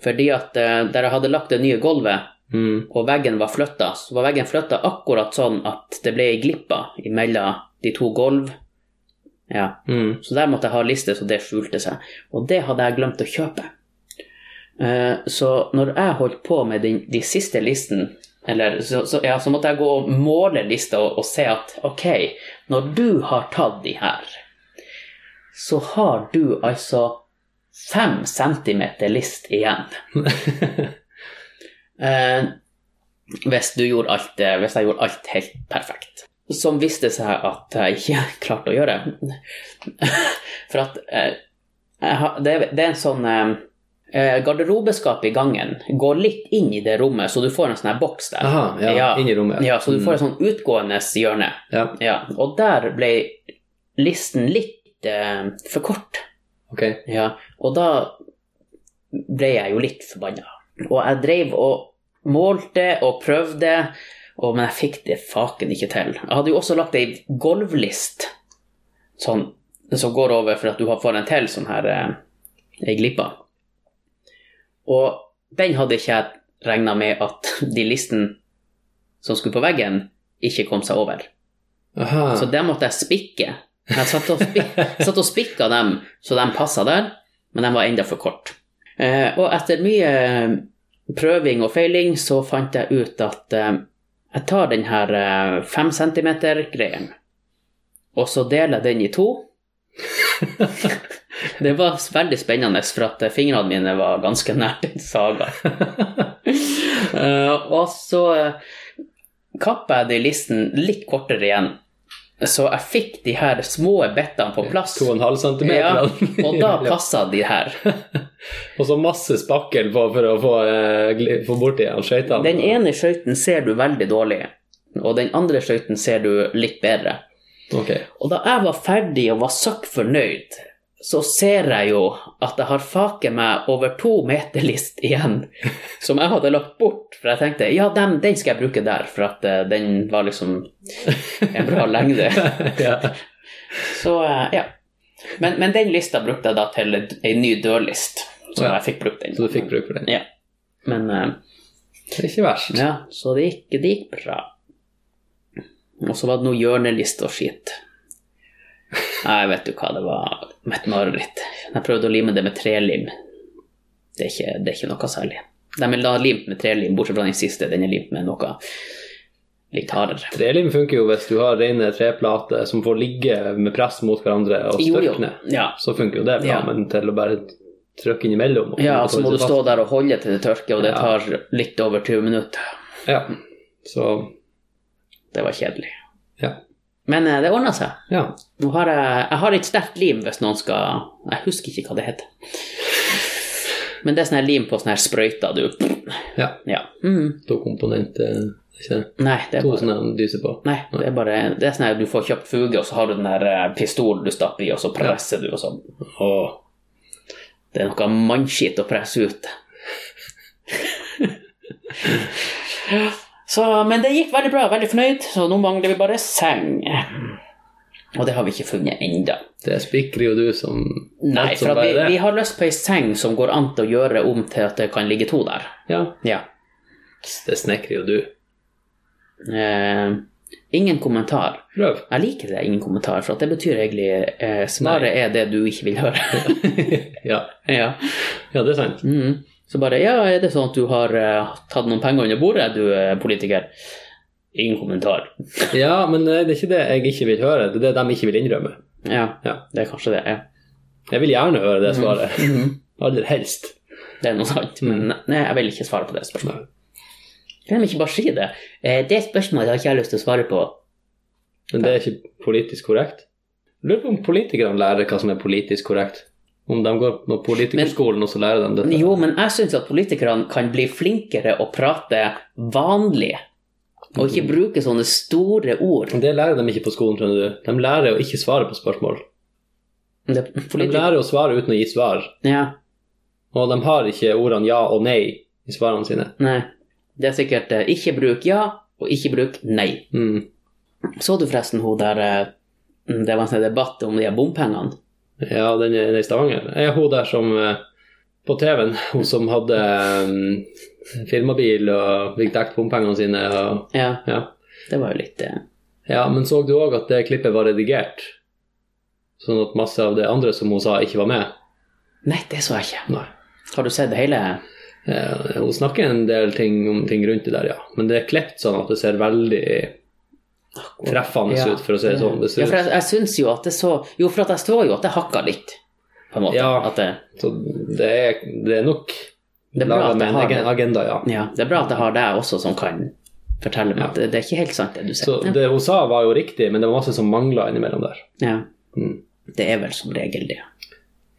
[SPEAKER 2] Fordi at eh, der jeg hadde lagt det nye gulvet,
[SPEAKER 1] Mm.
[SPEAKER 2] og veggen var flytta, så var veggen flytta akkurat sånn at det ble ei glippa imellom de to gulv. Ja.
[SPEAKER 1] Mm.
[SPEAKER 2] Så der måtte jeg ha liste, så det skjulte seg. Og det hadde jeg glemt å kjøpe. Eh, Så når jeg holdt på med den, de siste listen, eller, så, så, ja, så måtte jeg gå og måle lista og, og se at ok, når du har tatt de her, så har du altså fem centimeter list igjen. Eh, hvis, du gjorde alt, eh, hvis jeg gjorde alt helt perfekt. Som viste seg at jeg ikke klarte å gjøre. For at eh, jeg har, det, er- det er en sånn eh, Garderobeskapet i gangen går litt inn i det rommet, så du får en sånn her boks der.
[SPEAKER 1] Aha, ja,
[SPEAKER 2] Ja.
[SPEAKER 1] Inn i rommet. Mm,
[SPEAKER 2] Ja, så du får et sånn utgående hjørne.
[SPEAKER 1] Ja,
[SPEAKER 2] Ja, og der ble listen litt eh, for kort.
[SPEAKER 1] ok.
[SPEAKER 2] Ja, og da ble jeg jo litt forbanna. Og jeg dreiv og målte og prøvde, og, men jeg fikk det faken ikke til. Jeg hadde jo også lagt ei gulvlist sånn, som går over for at du har- får en til sånn her eh, ei glippa. Og den hadde ikke jeg regna med at de listene som skulle på veggen, ikke kom seg over.
[SPEAKER 1] Aha.
[SPEAKER 2] Så der måtte jeg spikke. Jeg satt og, spik satt og spikka dem så de passa der, men de var enda for kort. Eh, og etter mye eh, prøving og feiling så fant jeg ut at eh, jeg tar den her eh, fem centimeter-greien, og så deler jeg den i to. Det var veldig spennende, for at eh, fingrene mine var ganske nært en saga. Eh, og så eh, kappa jeg de listen litt kortere igjen, så jeg fikk de her små bitene på plass.
[SPEAKER 1] 2,5 cm.
[SPEAKER 2] Ja, og da passa de her.
[SPEAKER 1] Og så masse spakkel på for å få, eh, gli- få borti han skøytene.
[SPEAKER 2] Den ene skøyten ser du veldig dårlig, og den andre skøyten ser du litt bedre.
[SPEAKER 1] Ok.
[SPEAKER 2] Og da jeg var ferdig og var søkk fornøyd, så ser jeg jo at jeg har faket meg over to meter list igjen, som jeg hadde lagt bort, for jeg tenkte ja, den, den skal jeg bruke der, for at eh, den var liksom en bra lengde.
[SPEAKER 1] ja.
[SPEAKER 2] Så eh, ja. Men, men den lista brukte jeg da til ei ny dørlist, så
[SPEAKER 1] Ja.
[SPEAKER 2] jeg fikk brukt den.
[SPEAKER 1] Så du fikk bruk for den.
[SPEAKER 2] Ja. Men eh,
[SPEAKER 1] Det er ikke verst.
[SPEAKER 2] ja, så det gikk, det gikk bra. Og så var det noe hjørneliste og skitt. Nei, vet du hva, det var et mareritt. Jeg prøvde å lime det med trelim. Det er ikke, det er ikke noe særlig. De er da limt med trelim, bortsett fra den siste. Den er limt med noe litt hardere.
[SPEAKER 1] Trelim funker jo hvis du har rene treplater som får ligge med press mot hverandre og
[SPEAKER 2] Jo, jo.
[SPEAKER 1] størkne.
[SPEAKER 2] Ja.
[SPEAKER 1] Så funker jo det bra,
[SPEAKER 2] Ja.
[SPEAKER 1] men til å bare trykke innimellom og
[SPEAKER 2] ja, og så må du stå der og holde til det tørker, og det
[SPEAKER 1] Ja.
[SPEAKER 2] tar litt over 20 minutter.
[SPEAKER 1] Ja. Så
[SPEAKER 2] Det var kjedelig.
[SPEAKER 1] Ja.
[SPEAKER 2] Men eh, det ordna seg.
[SPEAKER 1] ja.
[SPEAKER 2] Nå har jeg, jeg har et sterkt lim hvis noen skal Jeg husker ikke hva det heter. Men det er sånn her lim på sånne her sånn sprøyter du
[SPEAKER 1] ja.
[SPEAKER 2] Ja. Mm.
[SPEAKER 1] To komponenter eh, Ikke det?
[SPEAKER 2] Nei, det er
[SPEAKER 1] To
[SPEAKER 2] bare,
[SPEAKER 1] sånne de dyser på.
[SPEAKER 2] nei, det er bare det er sånn her du får kjøpt fuge, og så har du den her eh, pistolen du stapper i, og så presser du, og sånn.
[SPEAKER 1] Åh.
[SPEAKER 2] Det er noe mannskitt å presse ut. så, men det gikk veldig bra, veldig fornøyd, så nå mangler vi bare seng. Og det har vi ikke funnet enda.
[SPEAKER 1] Det spikrer jo du som
[SPEAKER 2] Nei,
[SPEAKER 1] alt som
[SPEAKER 2] for at
[SPEAKER 1] bare
[SPEAKER 2] vi,
[SPEAKER 1] det.
[SPEAKER 2] vi har lyst på ei seng som går an til å gjøre om til at det kan ligge to der.
[SPEAKER 1] Ja,
[SPEAKER 2] Ja.
[SPEAKER 1] det snekrer jo du.
[SPEAKER 2] Eh, ingen kommentar.
[SPEAKER 1] Prøv.
[SPEAKER 2] Jeg liker det, ingen kommentar, for at det betyr egentlig eh, svaret er det du ikke vil høre.
[SPEAKER 1] Ja,
[SPEAKER 2] ja.
[SPEAKER 1] ja det er sant.
[SPEAKER 2] Mm. Så bare Ja, er det sånn at du har eh, tatt noen penger under bordet, du eh, politiker? Ingen kommentar.
[SPEAKER 1] Ja, men eh, det er ikke det jeg ikke vil høre, det er det de ikke vil innrømme.
[SPEAKER 2] Ja,
[SPEAKER 1] Ja.
[SPEAKER 2] det er kanskje det. Ja.
[SPEAKER 1] Jeg vil gjerne høre det svaret.
[SPEAKER 2] Mhm.
[SPEAKER 1] Aller helst.
[SPEAKER 2] Det er noe sant, men nei, jeg vil ikke svare på det spørsmålet.
[SPEAKER 1] Nei.
[SPEAKER 2] Kan de ikke bare si det? Eh, det spørsmålet har ikke jeg lyst til å svare på.
[SPEAKER 1] Men det er ikke politisk korrekt. Jeg Lurer på om politikerne lærer hva som er politisk korrekt. Om de går på politikerskolen og så lærer de dette.
[SPEAKER 2] Jo, men jeg syns at politikerne kan bli flinkere å prate vanlig, og ikke bruke sånne store ord.
[SPEAKER 1] Det lærer de ikke på skolen, tror du. De lærer å ikke svare på spørsmål.
[SPEAKER 2] Det,
[SPEAKER 1] De
[SPEAKER 2] politi-
[SPEAKER 1] lærer å svare uten å gi svar.
[SPEAKER 2] ja,
[SPEAKER 1] Og de har ikke ordene ja og nei i svarene sine.
[SPEAKER 2] nei. Det er sikkert eh, ikke bruk ja, og ikke bruk nei.
[SPEAKER 1] Mm.
[SPEAKER 2] Så du forresten hun der eh, Det var en sånn debatt om de her bompengene.
[SPEAKER 1] Ja, den er den er i Stavanger. Er hun der som eh, på TV-en, hun som hadde eh, firmabil og fikk dekt bompengene sine og
[SPEAKER 2] Ja,
[SPEAKER 1] ja.
[SPEAKER 2] det var jo litt eh,
[SPEAKER 1] Ja, men så du òg at det klippet var redigert? Sånn at masse av det andre som hun sa, ikke var med?
[SPEAKER 2] Nei, det så jeg ikke.
[SPEAKER 1] Nei.
[SPEAKER 2] Har du sett det hele?
[SPEAKER 1] Eh, hun snakker en del ting om ting rundt det der, ja. Men det er klippet sånn at det ser veldig treffende
[SPEAKER 2] Ja.
[SPEAKER 1] ut, for å si det sånn. Det
[SPEAKER 2] Ja,
[SPEAKER 1] ser
[SPEAKER 2] for
[SPEAKER 1] ut.
[SPEAKER 2] jeg, jeg syns jo at det så Jo, for at jeg så jo at det hakka litt, på en måte.
[SPEAKER 1] Ja.
[SPEAKER 2] At det,
[SPEAKER 1] Så det er, det er nok
[SPEAKER 2] Det er bra
[SPEAKER 1] laget
[SPEAKER 2] at det
[SPEAKER 1] med en
[SPEAKER 2] har
[SPEAKER 1] egen
[SPEAKER 2] det.
[SPEAKER 1] agenda, ja.
[SPEAKER 2] ja, det er bra at jeg har deg også som kan fortelle meg at det, det er ikke helt sant, det du sier.
[SPEAKER 1] Så det hun sa, var jo riktig, men det var masse som mangla innimellom der.
[SPEAKER 2] ja.
[SPEAKER 1] Mm.
[SPEAKER 2] det er vel som regel det.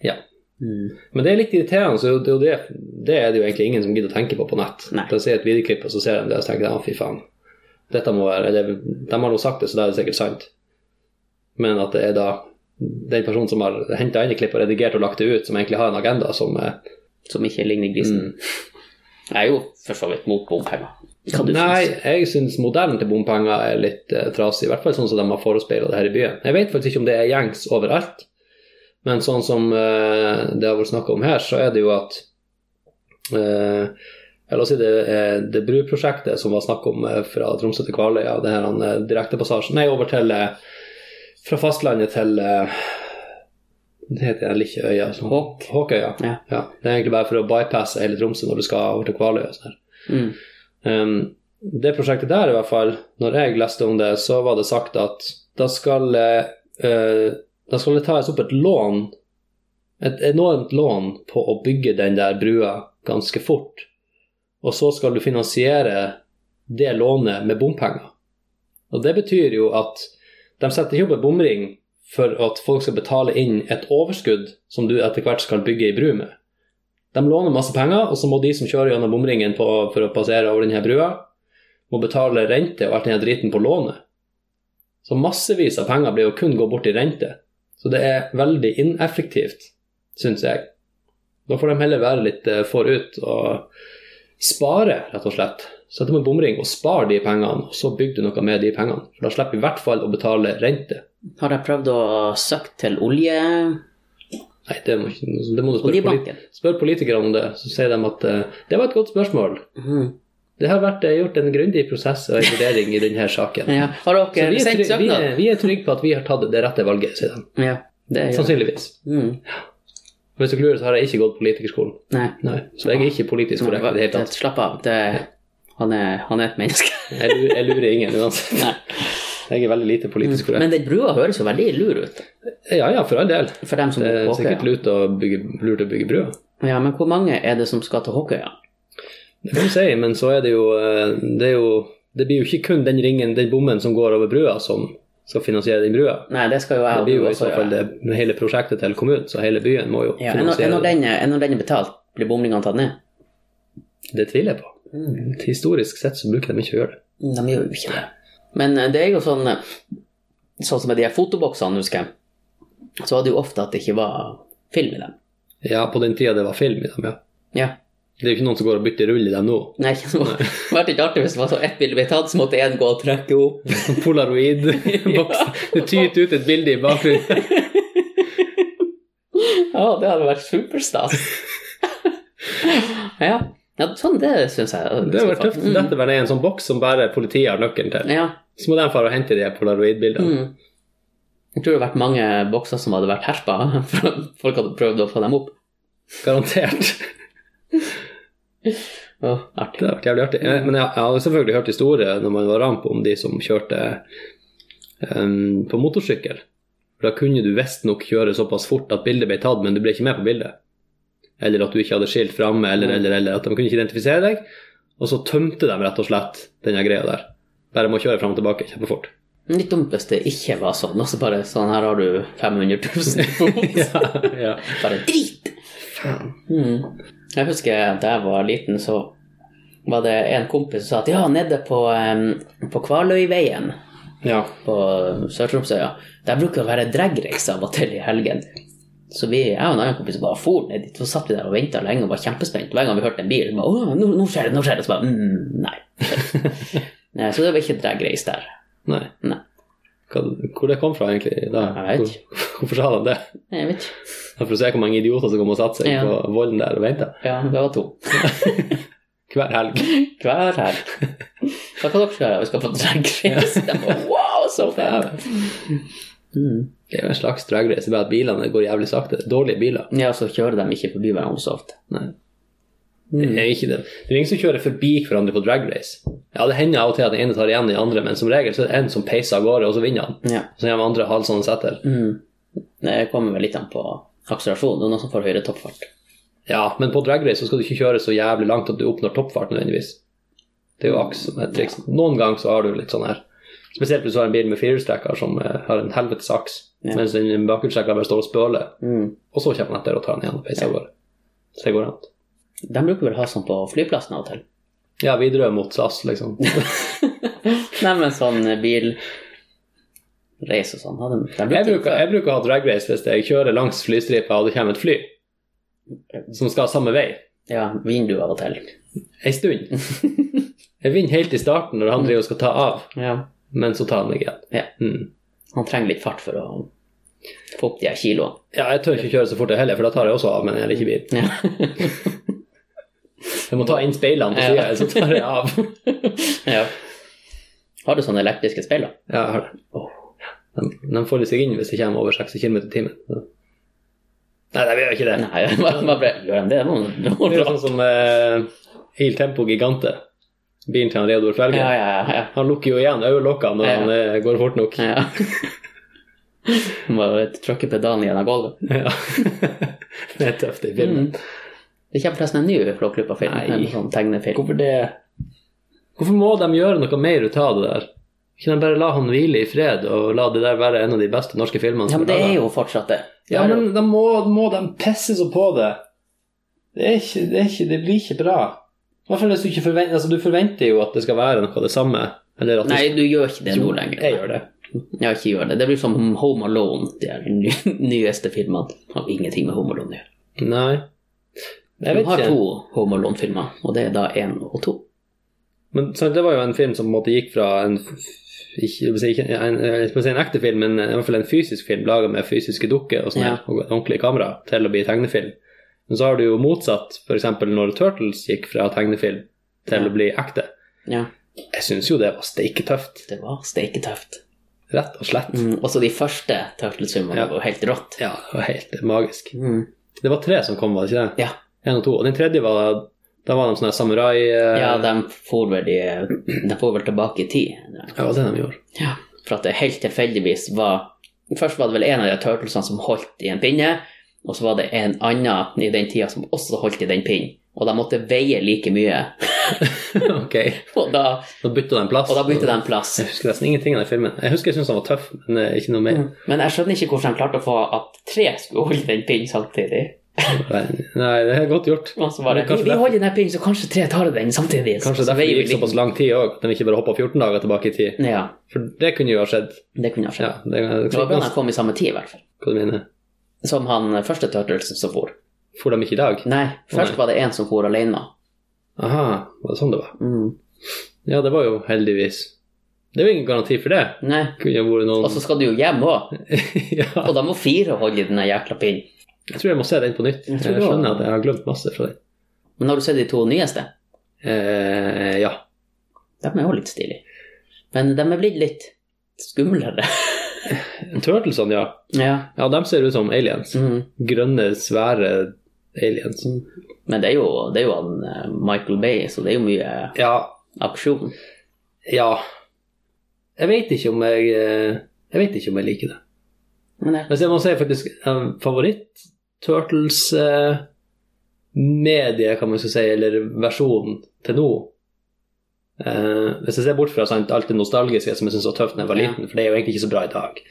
[SPEAKER 1] Ja.
[SPEAKER 2] Mm.
[SPEAKER 1] Men det er litt irriterende, så det, er jo det, det er det jo egentlig ingen som gidder å tenke på på nett.
[SPEAKER 2] Nei.
[SPEAKER 1] De ser et videoklipp, og så ser de det og så tenker de, «Å, fy faen. Dette må være, eller, De har jo sagt det, så da er det sikkert sant. Men at det er da den personen som har henta inn et klipp og redigert og lagt det ut, som egentlig har en agenda som Mm. eh,
[SPEAKER 2] Som ikke ligner grisen. Jeg er jo for så vidt mot bompenger. Hva du
[SPEAKER 1] Nei,
[SPEAKER 2] syns?
[SPEAKER 1] jeg syns modellen til bompenger er litt eh, trasig. I hvert fall sånn som de har forespeila det her i byen. Jeg vet faktisk ikke om det er gjengs overalt, men sånn som eh, det har vært snakka om her, så er det jo at eh, La oss si det, eh, det bruprosjektet som var snakk om eh, fra Tromsø til Kvaløya, det her eh, direktepassasjen Nei, over til eh, Fra fastlandet til eh, Det heter jeg ikke øya. sånn-
[SPEAKER 2] Håk.
[SPEAKER 1] Håkøya.
[SPEAKER 2] Ja.
[SPEAKER 1] Ja, det er egentlig bare for å bypasse hele Tromsø når du skal over til Kvaløya. og sånn her.
[SPEAKER 2] Mm.
[SPEAKER 1] Um, det prosjektet der, i hvert fall, når jeg leste om det, så var det sagt at da skal eh, eh, da skal det tas opp et lån, et enormt lån, på å bygge den der brua ganske fort. Og så skal du finansiere det lånet med bompenger. Og det betyr jo at de setter ikke opp en bomring for at folk skal betale inn et overskudd som du etter hvert skal bygge ei bru med. De låner masse penger, og så må de som kjører gjennom bomringen på, for å passere over denne brua, må betale rente og alt denne driten på lånet. Så massevis av penger blir jo kun gå bort i rente. Så det er veldig ineffektivt, syns jeg. Da får de heller være litt eh, forut og spare, rett og slett. Sette opp en bomring og spare de pengene, og så bygger du noe med de pengene. For da slipper vi i hvert fall å betale rente.
[SPEAKER 2] Har jeg prøvd å søke til olje...
[SPEAKER 1] Nei, det må, ikke, det må du spørre, polit
[SPEAKER 2] oljebanken?
[SPEAKER 1] spør politikerne om det, så sier de at eh, det var et godt spørsmål.
[SPEAKER 2] Mhm.
[SPEAKER 1] Det har vært eh, gjort en grundig prosess og en vurdering i denne saken.
[SPEAKER 2] Ja. Har
[SPEAKER 1] Så
[SPEAKER 2] dere
[SPEAKER 1] vi er,
[SPEAKER 2] sendt
[SPEAKER 1] trygge, vi,
[SPEAKER 2] søknad?
[SPEAKER 1] er, vi er trygge på at vi har tatt det rette valget, sier de.
[SPEAKER 2] Ja, det er jo
[SPEAKER 1] Sannsynligvis.
[SPEAKER 2] mm.
[SPEAKER 1] For hvis du lurer, så har jeg ikke gått politikerskolen.
[SPEAKER 2] Nei.
[SPEAKER 1] Nei, Så jeg er ikke politisk korrekt i det hele tatt.
[SPEAKER 2] Slapp av. Det, han, er, han er et menneske.
[SPEAKER 1] Jeg lurer, jeg lurer ingen uansett.
[SPEAKER 2] Nei.
[SPEAKER 1] Jeg er veldig lite politisk korrekt.
[SPEAKER 2] Men den brua høres jo veldig lur ut.
[SPEAKER 1] Ja ja, for all del.
[SPEAKER 2] For dem som
[SPEAKER 1] Det
[SPEAKER 2] bor
[SPEAKER 1] er
[SPEAKER 2] på
[SPEAKER 1] sikkert
[SPEAKER 2] Håkøya.
[SPEAKER 1] lurt å bygge, lurt å bygge brua.
[SPEAKER 2] Ja, men hvor mange er det som skal til Håkøya?
[SPEAKER 1] Det kan du si, men så er det jo eh, Det, er jo, det blir jo ikke kun den ringen, den bommen som går over brua, som skal finansiere den brua.
[SPEAKER 2] Nei, det skal jo jeg
[SPEAKER 1] Det
[SPEAKER 2] og
[SPEAKER 1] blir
[SPEAKER 2] du
[SPEAKER 1] jo i
[SPEAKER 2] også
[SPEAKER 1] så fall
[SPEAKER 2] gjøre.
[SPEAKER 1] det hele prosjektet til kommunen, så hele byen må jo
[SPEAKER 2] Ja, er når, er
[SPEAKER 1] finansiere
[SPEAKER 2] når
[SPEAKER 1] det.
[SPEAKER 2] den er er når den er betalt, blir bomringene tatt ned?
[SPEAKER 1] Det tviler jeg på. Historisk sett så bruker Mm. de ikke å gjøre det.
[SPEAKER 2] De gjør jo ikke det. Men eh, det er jo sånn eh, Sånn som med de her fotoboksene, husker jeg, så var det jo ofte at det ikke var film i dem.
[SPEAKER 1] Ja, på den tida det var film i dem, ja.
[SPEAKER 2] Ja.
[SPEAKER 1] Det er jo ikke noen som går og bytter rull i dem nå.
[SPEAKER 2] Nei, ikke så- det hadde vært ikke artig hvis det var så ett bilde ble tatt, så måtte én gå og trekke opp.
[SPEAKER 1] Polaroid-boks. Det tyter ut et bilde i bakgrunnen.
[SPEAKER 2] Ja, det hadde vært superstas. ja. ja, sånn det syns jeg.
[SPEAKER 1] Det hadde vært tøft.
[SPEAKER 2] Mm.
[SPEAKER 1] Dette var det en sånn boks som bare politiet har nøkkelen til.
[SPEAKER 2] Ja.
[SPEAKER 1] Så må de fare og hente de her polaroid-bildene.
[SPEAKER 2] Mm. Jeg tror det hadde vært mange bokser som hadde vært herpa, for folk hadde prøvd å få dem opp.
[SPEAKER 1] Mm. Garantert.
[SPEAKER 2] Ja,
[SPEAKER 1] Det
[SPEAKER 2] artig.
[SPEAKER 1] hadde vært jævlig artig. Eh, Men jeg, jeg har selvfølgelig hørt historier når man var ramp om de som kjørte em, på motorsykkel. For da kunne du visstnok kjøre såpass fort at bildet ble tatt, men du ble ikke med på bildet. Eller at du ikke hadde skilt framme, eller,
[SPEAKER 2] Mm.
[SPEAKER 1] eller, eller. At de kunne ikke identifisere deg. Og så tømte de rett og slett denne greia der. Bare med å kjøre fram og tilbake kjempefort.
[SPEAKER 2] Litt dumt hvis det ikke var sånn, og så bare sånn her har du 500 000 kroner.
[SPEAKER 1] ja, ja.
[SPEAKER 2] Bare drit! Mm. Jeg husker da jeg var liten, så var det en kompis som sa at ja, nede på, eh, på Kvaløyveien
[SPEAKER 1] ja.
[SPEAKER 2] på Sør-Tromsøya, der bruker det å være dragrace av og til i helgen. Så vi, jeg og en annen kompis bare for ned dit, så satt vi der og venta lenge og var kjempespent. Hver gang vi hørte en bil, bare, Åh, nå, nå skjer det, nå skjer det. Så bare mm, nei. Nei, Så det var ikke dragrace der.
[SPEAKER 1] Nei.
[SPEAKER 2] Nei.
[SPEAKER 1] Hva, hvor det kom fra, egentlig? Da?
[SPEAKER 2] Jeg vet
[SPEAKER 1] Hvor, hvorfor sa de det?
[SPEAKER 2] Jeg vet ikke.
[SPEAKER 1] For å se hvor mange idioter som kommer og satte seg
[SPEAKER 2] Ja.
[SPEAKER 1] på volden der og venter.
[SPEAKER 2] Ja, det var to.
[SPEAKER 1] Hver helg.
[SPEAKER 2] Hver her. Hva kan dere gjøre? Vi skal på dragrace. De bare, Wow, så fett! Mm.
[SPEAKER 1] Det er jo en slags dragrace, bare at bilene går jævlig sakte. Dårlige biler.
[SPEAKER 2] Ja, så kjører de ikke forbi hverandre så ofte.
[SPEAKER 1] Nei. Det
[SPEAKER 2] Mm.
[SPEAKER 1] er ikke det. Det er ingen som kjører forbi hverandre på dragrace. Ja, det hender av og til at den ene tar igjen den andre, men som regel så er det en som peiser av gårde, og så vinner han.
[SPEAKER 2] Ja.
[SPEAKER 1] Så kommer andre halsende etter.
[SPEAKER 2] Mm. Det kommer vel litt an på akselerasjon. Det er noen som får høyere toppfart.
[SPEAKER 1] Ja, men på dragrace så skal du ikke kjøre så jævlig langt at du oppnår toppfart nødvendigvis. Det er jo aks som er et triks. Noen ganger så har du litt sånn her. Spesielt hvis du har en bil med firehjulstrekker som eh, har en helvetes aks,
[SPEAKER 2] Ja.
[SPEAKER 1] mens den bakhjulstrekkeren bare står og spøler,
[SPEAKER 2] Mm.
[SPEAKER 1] og så kommer han etter og tar han igjen og peiser av gårde. Så det går an.
[SPEAKER 2] De bruker vel å ha sånn på flyplassen av og til.
[SPEAKER 1] Ja, Widerøe mot SAS, liksom.
[SPEAKER 2] Nei, men sånn bilreis og sånn. hadde De de
[SPEAKER 1] Jeg
[SPEAKER 2] brukte
[SPEAKER 1] bruker, jeg bruker å ha dragrace hvis jeg kjører langs flystripa og det kommer et fly som skal samme vei,
[SPEAKER 2] ja, vindu av og til.
[SPEAKER 1] ei stund. Jeg vinner helt i starten når han driver og skal ta av,
[SPEAKER 2] Ja.
[SPEAKER 1] men så tar han meg igjen.
[SPEAKER 2] Mm. Ja.
[SPEAKER 1] Mm.
[SPEAKER 2] Han trenger litt fart for å få opp de her kiloene.
[SPEAKER 1] ja, jeg tør ikke kjøre så fort jeg heller, for da tar jeg også av, men jeg er ikke bil.
[SPEAKER 2] Ja.
[SPEAKER 1] Jeg må ta inn speilene på sida,
[SPEAKER 2] Ja.
[SPEAKER 1] så tar jeg av.
[SPEAKER 2] ja. Har du sånne elektriske speil? da?
[SPEAKER 1] Ja, jeg har det. De, de folder seg inn hvis det kommer over 60 km i timen. så. Nei, nei, vi gjør ikke det.
[SPEAKER 2] Nei, hva hva ble gjør de det? Må- må-
[SPEAKER 1] Det er jo sånn som eh, Il Tempo Gigante, bilen til han Reodor Felge.
[SPEAKER 2] Ja, ja, ja. ja.
[SPEAKER 1] Han lukker jo igjen øyelokkene når
[SPEAKER 2] Ja.
[SPEAKER 1] han eh, går fort nok.
[SPEAKER 2] Ja. Må trykke pedalen gjennom gulvet.
[SPEAKER 1] Ja. det er tøft i filmen.
[SPEAKER 2] Mm. Det kommer forresten en ny Flåklypa-film.
[SPEAKER 1] Nei.
[SPEAKER 2] En sånn tegnefilm.
[SPEAKER 1] Hvorfor det Hvorfor må de gjøre noe mer ut av det der? Kan de bare la han hvile i fred og la det der være en av de beste norske filmene?
[SPEAKER 2] Ja,
[SPEAKER 1] som
[SPEAKER 2] men det
[SPEAKER 1] laget?
[SPEAKER 2] er jo fortsatt det. Det
[SPEAKER 1] Ja,
[SPEAKER 2] er jo-
[SPEAKER 1] men da må, må de pisse så på det. Det, er ikke, det, er ikke, det blir ikke bra. I hvert fall hvis du ikke forventer Altså, du forventer jo at det skal være noe av det samme. Eller at
[SPEAKER 2] Nei, du gjør ikke
[SPEAKER 1] det
[SPEAKER 2] det nå lenger.
[SPEAKER 1] Jeg gjør det.
[SPEAKER 2] Ja, ikke gjør det. Det blir som Home Alone, de her ny- nyeste filmene. Har ingenting med Home Alone å gjøre.
[SPEAKER 1] Nei. Jeg
[SPEAKER 2] De
[SPEAKER 1] vet
[SPEAKER 2] har
[SPEAKER 1] ikke.
[SPEAKER 2] to Home Alone-filmer, og det er da én og to.
[SPEAKER 1] Men sant, det var jo en film som på en måte gikk fra en f- f- ikke, jeg vil si ikke en, jeg vil si en ekte film, men i hvert fall en fysisk film laga med fysiske dukker og sånn her, og et ordentlig kamera, til å bli tegnefilm. Men så har du jo motsatt, f.eks. når Turtles gikk fra tegnefilm til
[SPEAKER 2] Ja.
[SPEAKER 1] å bli ekte.
[SPEAKER 2] Ja,
[SPEAKER 1] Jeg syns jo det var steike tøft,
[SPEAKER 2] det var steiketøft.
[SPEAKER 1] rett og slett.
[SPEAKER 2] Mm, også de første Turtles-filmene
[SPEAKER 1] Ja.
[SPEAKER 2] var jo helt rått.
[SPEAKER 1] Ja, det var helt magisk.
[SPEAKER 2] Mm.
[SPEAKER 1] Det var tre som kom, var det ikke det?
[SPEAKER 2] Ja.
[SPEAKER 1] En og to. Og den tredje var Da var de sånne samurai... eh,
[SPEAKER 2] ja, de får vel, de, de får vel tilbake i tid.
[SPEAKER 1] ja, det var det de gjorde.
[SPEAKER 2] Ja, for at det helt tilfeldigvis var Først var det vel en av de turtlesene som holdt i en pinne, og så var det en annen i den tida som også holdt i den pinnen. Og de måtte veie like mye.
[SPEAKER 1] ok.
[SPEAKER 2] Og da,
[SPEAKER 1] Da bytta de plass.
[SPEAKER 2] og da bytte de plass.
[SPEAKER 1] Jeg husker nesten ingenting av den filmen. Jeg husker jeg syntes den var
[SPEAKER 2] Mm.
[SPEAKER 1] tøff, men eh, ikke noe mer.
[SPEAKER 2] Men jeg skjønner ikke hvordan de klarte å få at tre skulle holde den pinnen samtidig.
[SPEAKER 1] Nei, det er godt gjort.
[SPEAKER 2] Og så bare,
[SPEAKER 1] Men
[SPEAKER 2] vi,
[SPEAKER 1] kanskje
[SPEAKER 2] vi
[SPEAKER 1] derfor-
[SPEAKER 2] holder den her pinnen, så kanskje tre tar den samtidig. Så-
[SPEAKER 1] Kanskje
[SPEAKER 2] så
[SPEAKER 1] derfor
[SPEAKER 2] veier
[SPEAKER 1] det
[SPEAKER 2] vi
[SPEAKER 1] gikk
[SPEAKER 2] litt.
[SPEAKER 1] såpass lang tid òg, at de ikke bare hoppa 14 dager tilbake i tid.
[SPEAKER 2] Ja,
[SPEAKER 1] For det kunne jo ha skjedd.
[SPEAKER 2] det kunne ha skjedd.
[SPEAKER 1] Ja, det,
[SPEAKER 2] Det var bra de kom i samme tid, i hvert fall.
[SPEAKER 1] Hva du mener
[SPEAKER 2] Som han eh, første Turtlesen som for.
[SPEAKER 1] For de ikke i dag?
[SPEAKER 2] Nei, først
[SPEAKER 1] Nei.
[SPEAKER 2] var det en som for alene.
[SPEAKER 1] Aha, var det sånn det var?
[SPEAKER 2] Mm.
[SPEAKER 1] Ja, det var jo heldigvis. Det er jo ingen garanti for det.
[SPEAKER 2] Nei.
[SPEAKER 1] Kunne jo vært noen
[SPEAKER 2] Og så skal du jo hjem òg,
[SPEAKER 1] ja.
[SPEAKER 2] og da må fire holde i den jækla pinnen.
[SPEAKER 1] Jeg tror jeg må se den på nytt. Jeg
[SPEAKER 2] Jeg tror det
[SPEAKER 1] skjønner
[SPEAKER 2] var-
[SPEAKER 1] at jeg har glemt masse fra den.
[SPEAKER 2] Men har du sett de to nyeste?
[SPEAKER 1] Eh, ja.
[SPEAKER 2] De er jo litt stilige. Men de er blitt litt skumlere.
[SPEAKER 1] Turtlesene, ja.
[SPEAKER 2] ja.
[SPEAKER 1] Ja, de ser ut som aliens.
[SPEAKER 2] Mm.
[SPEAKER 1] Grønne, svære aliens.
[SPEAKER 2] Men det er jo, det er jo han eh, Michael Bay, så det er jo mye
[SPEAKER 1] Ja,
[SPEAKER 2] aksjon.
[SPEAKER 1] ja. Jeg vet ikke om jeg eh, Jeg vet ikke om jeg liker det.
[SPEAKER 2] Men det,
[SPEAKER 1] Men jeg må si faktisk eh, favoritt Turtles eh, medie, kan man så si, eller versjonen til nå. Eh, hvis jeg ser bort fra sant, alt det nostalgiske som jeg syntes var tøft da jeg var
[SPEAKER 2] Ja.
[SPEAKER 1] liten, for det er jo egentlig ikke så bra i dag.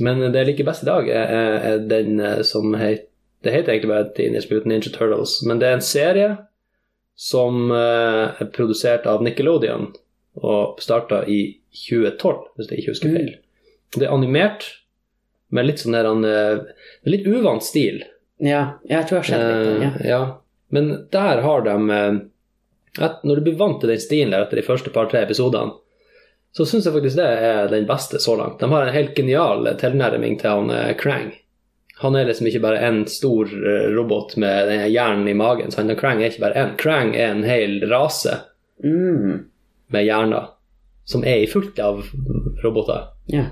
[SPEAKER 1] Men det jeg liker best i dag, er, er, er den eh, som heter Det heter egentlig bare Teenage Mutant Ninja Turtles, men det er en serie som eh, er produsert av Nickelodeon og starta i 2012, hvis jeg ikke husker feil. Det er animert med litt sånn der han eh, Litt uvant stil.
[SPEAKER 2] ja, jeg tror jeg har sett litt. av den,
[SPEAKER 1] Eh, ja. Men der har de eh, at Når du blir vant til den stilen der etter de første par-tre episodene, så syns jeg faktisk det er den beste så langt. De har en helt genial eh, tilnærming til han eh, Krang. Han er liksom ikke bare en stor eh, robot med den hjernen i magen. Så han og Krang er ikke bare en. Krang er en hel rase
[SPEAKER 2] Ja. Mm.
[SPEAKER 1] med hjerner som er i fullt av roboter.
[SPEAKER 2] ja.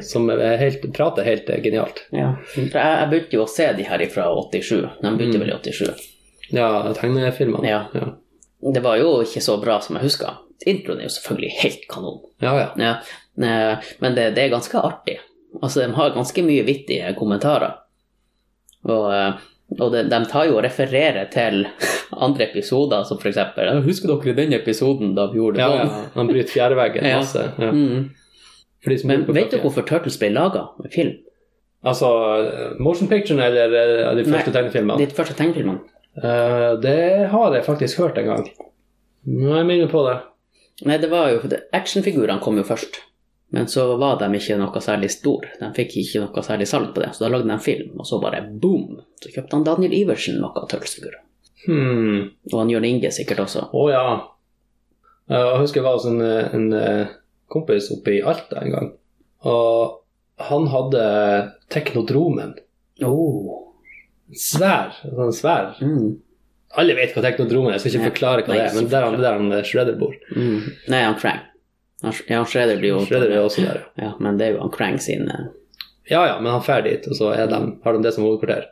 [SPEAKER 1] Som er helt, prater helt eh, genialt.
[SPEAKER 2] Ja, for jeg, jeg begynte jo å se de her fra 87. De begynte vel i 87.
[SPEAKER 1] Ja, tegnefilmene.
[SPEAKER 2] Mm. Ja.
[SPEAKER 1] ja.
[SPEAKER 2] Det var jo ikke så bra som jeg huska. Introen er jo selvfølgelig helt kanon.
[SPEAKER 1] Ja, ja.
[SPEAKER 2] Ja, eh, men det, det er ganske artig. Altså, de har ganske mye vittige kommentarer. Og, eh, og de, de tar jo og refererer til andre episoder, som for eksempel «Ja, Husker dere den episoden da vi gjorde det
[SPEAKER 1] ja,
[SPEAKER 2] sånn?
[SPEAKER 1] ja. Han bryter fjærveggen
[SPEAKER 2] Ja.
[SPEAKER 1] masse. Ja.
[SPEAKER 2] Mm.
[SPEAKER 1] For de som
[SPEAKER 2] Men
[SPEAKER 1] lurer på
[SPEAKER 2] vet
[SPEAKER 1] hva-
[SPEAKER 2] du hvorfor Turtles ble laga med film?
[SPEAKER 1] Altså, motion picture eller eh, de første
[SPEAKER 2] Nei.
[SPEAKER 1] tegnefilmene?
[SPEAKER 2] De første tegnefilmene.
[SPEAKER 1] Eh, det har jeg faktisk hørt en gang. Nå er jeg minner på det.
[SPEAKER 2] Nei, det var jo Actionfigurene kom jo først. Men så var de ikke noe særlig stor. De fikk ikke noe særlig salg på det, så da lagde de en film, og så bare boom! Så kjøpte han Daniel Iversen noe Turtles-figurer.
[SPEAKER 1] Hmm.
[SPEAKER 2] Og han Jørn Inge sikkert også.
[SPEAKER 1] Å ja. Eh, Jeg husker jeg var hos en, eh, en eh, kompis oppe i Alta en gang. Og han hadde Teknodromen.
[SPEAKER 2] Oh.
[SPEAKER 1] Svær. Sånn svær.
[SPEAKER 2] Mm.
[SPEAKER 1] Alle vet hva Teknodromen er, jeg skal ikke
[SPEAKER 2] Nei.
[SPEAKER 1] forklare hva
[SPEAKER 2] Nei,
[SPEAKER 1] det er. Men
[SPEAKER 2] ikke
[SPEAKER 1] der han, der han eh, Shredder bor.
[SPEAKER 2] Mm. Nei, han Krang. Han, ja, han Shredder blir jo
[SPEAKER 1] Shredder er også der, ja.
[SPEAKER 2] Ja, men det er jo han Krang sin eh,
[SPEAKER 1] Ja, ja, men han drar dit, og så er de, har de det som hovedkvarter.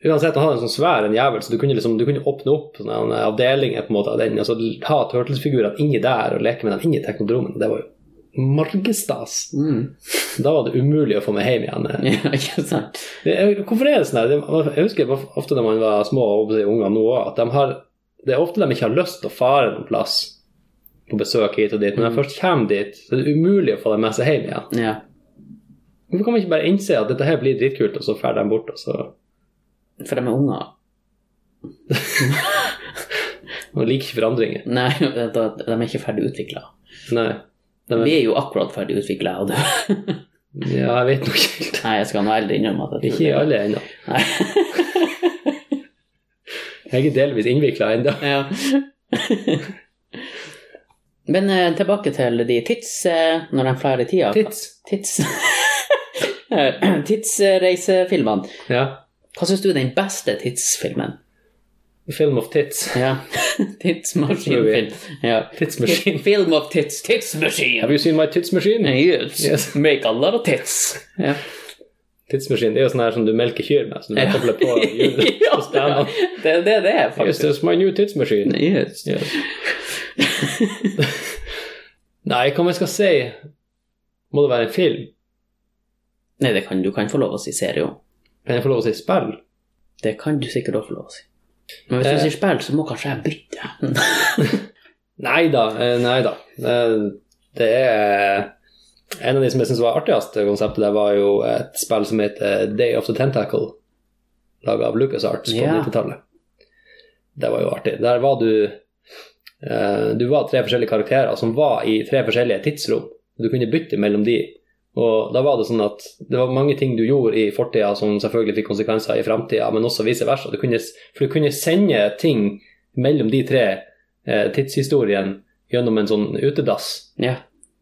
[SPEAKER 1] Uansett, han hadde en sånn svær en jævel, så du kunne, liksom, du kunne åpne opp sånne en avdeling på en måte, av den, og så ha Turtles-figurene inni der og leke med dem inni teknodromen. Det var jo margestas.
[SPEAKER 2] mm.
[SPEAKER 1] Da var det umulig å få meg hjem igjen.
[SPEAKER 2] Ja, ikke sant?
[SPEAKER 1] Jeg- Hvorfor er det sånn her? Det- Jeg husker bare ofte når man var små og oppe i ungene nå også, at de har, det er ofte de ikke har lyst til å fare noen plass på besøk hit og dit, men når de først kommer dit, så er det umulig å få dem med seg hjem igjen.
[SPEAKER 2] Ja.
[SPEAKER 1] Hvorfor kan man ikke bare innse at dette her blir dritkult, og så drar de bort, og så
[SPEAKER 2] For de er unger.
[SPEAKER 1] Man liker ikke forandringer.
[SPEAKER 2] Nei, de de er ikke ferdig utvikla.
[SPEAKER 1] Nei. De,
[SPEAKER 2] Vi er jo akkurat ferdig utvikla, og det
[SPEAKER 1] ja, jeg vet nok ikke helt.
[SPEAKER 2] Nei, jeg skal nå ærlig innrømme at jeg tror
[SPEAKER 1] Ikke i alle ennå.
[SPEAKER 2] Nei.
[SPEAKER 1] Jeg er delvis innvikla ennå.
[SPEAKER 2] Ja. Men eh, tilbake til de tids... Eh, når de fleier i tida.
[SPEAKER 1] Tids.
[SPEAKER 2] Tids... Eh, Tidsreisefilmene.
[SPEAKER 1] Ja.
[SPEAKER 2] Hva syns du er den beste tidsfilmen?
[SPEAKER 1] Film of tits.
[SPEAKER 2] Ja. Tidsmaskinfilm. Ja.
[SPEAKER 1] Tidsmaskin.
[SPEAKER 2] Film of tits. Tidsmaskin!
[SPEAKER 1] Have you seen my tidsmaskin?
[SPEAKER 2] Yes.
[SPEAKER 1] Yes.
[SPEAKER 2] Make a lot of tits. Ja.
[SPEAKER 1] Tidsmaskin det er jo sånn her som du melker kyr med. Som du
[SPEAKER 2] Ja.
[SPEAKER 1] kobler på hjulet på
[SPEAKER 2] ja,
[SPEAKER 1] stenen.
[SPEAKER 2] det er det det er,
[SPEAKER 1] Yes,
[SPEAKER 2] faktisk.
[SPEAKER 1] that's my new tidsmaskin.
[SPEAKER 2] Yes.
[SPEAKER 1] Ja. Nei, hva man skal si? Må det være en film?
[SPEAKER 2] Nei, det kan, du kan få lov å si serio.
[SPEAKER 1] Kan jeg få lov å si spill?
[SPEAKER 2] Det kan du sikkert også få lov å si. Men hvis
[SPEAKER 1] Eh.
[SPEAKER 2] du sier spill, så må kanskje jeg bytte. Mm.
[SPEAKER 1] Nei da. Nei da. Eh, Det er En av de som jeg syns var artigst, konseptet der, var jo et spill som heter Day of the Tentacle. laga av LucasArts på
[SPEAKER 2] Ja.
[SPEAKER 1] 90-tallet. Det var jo artig. Der var du eh, Du var tre forskjellige karakterer som var i tre forskjellige tidsrom. Du kunne bytte mellom de. Og da var det sånn at det var mange ting du gjorde i fortida som selvfølgelig fikk konsekvenser i framtida, men også vice versa. Du kunne, for du kunne sende ting mellom de tre eh, tidshistoriene gjennom en sånn utedass
[SPEAKER 2] Ja.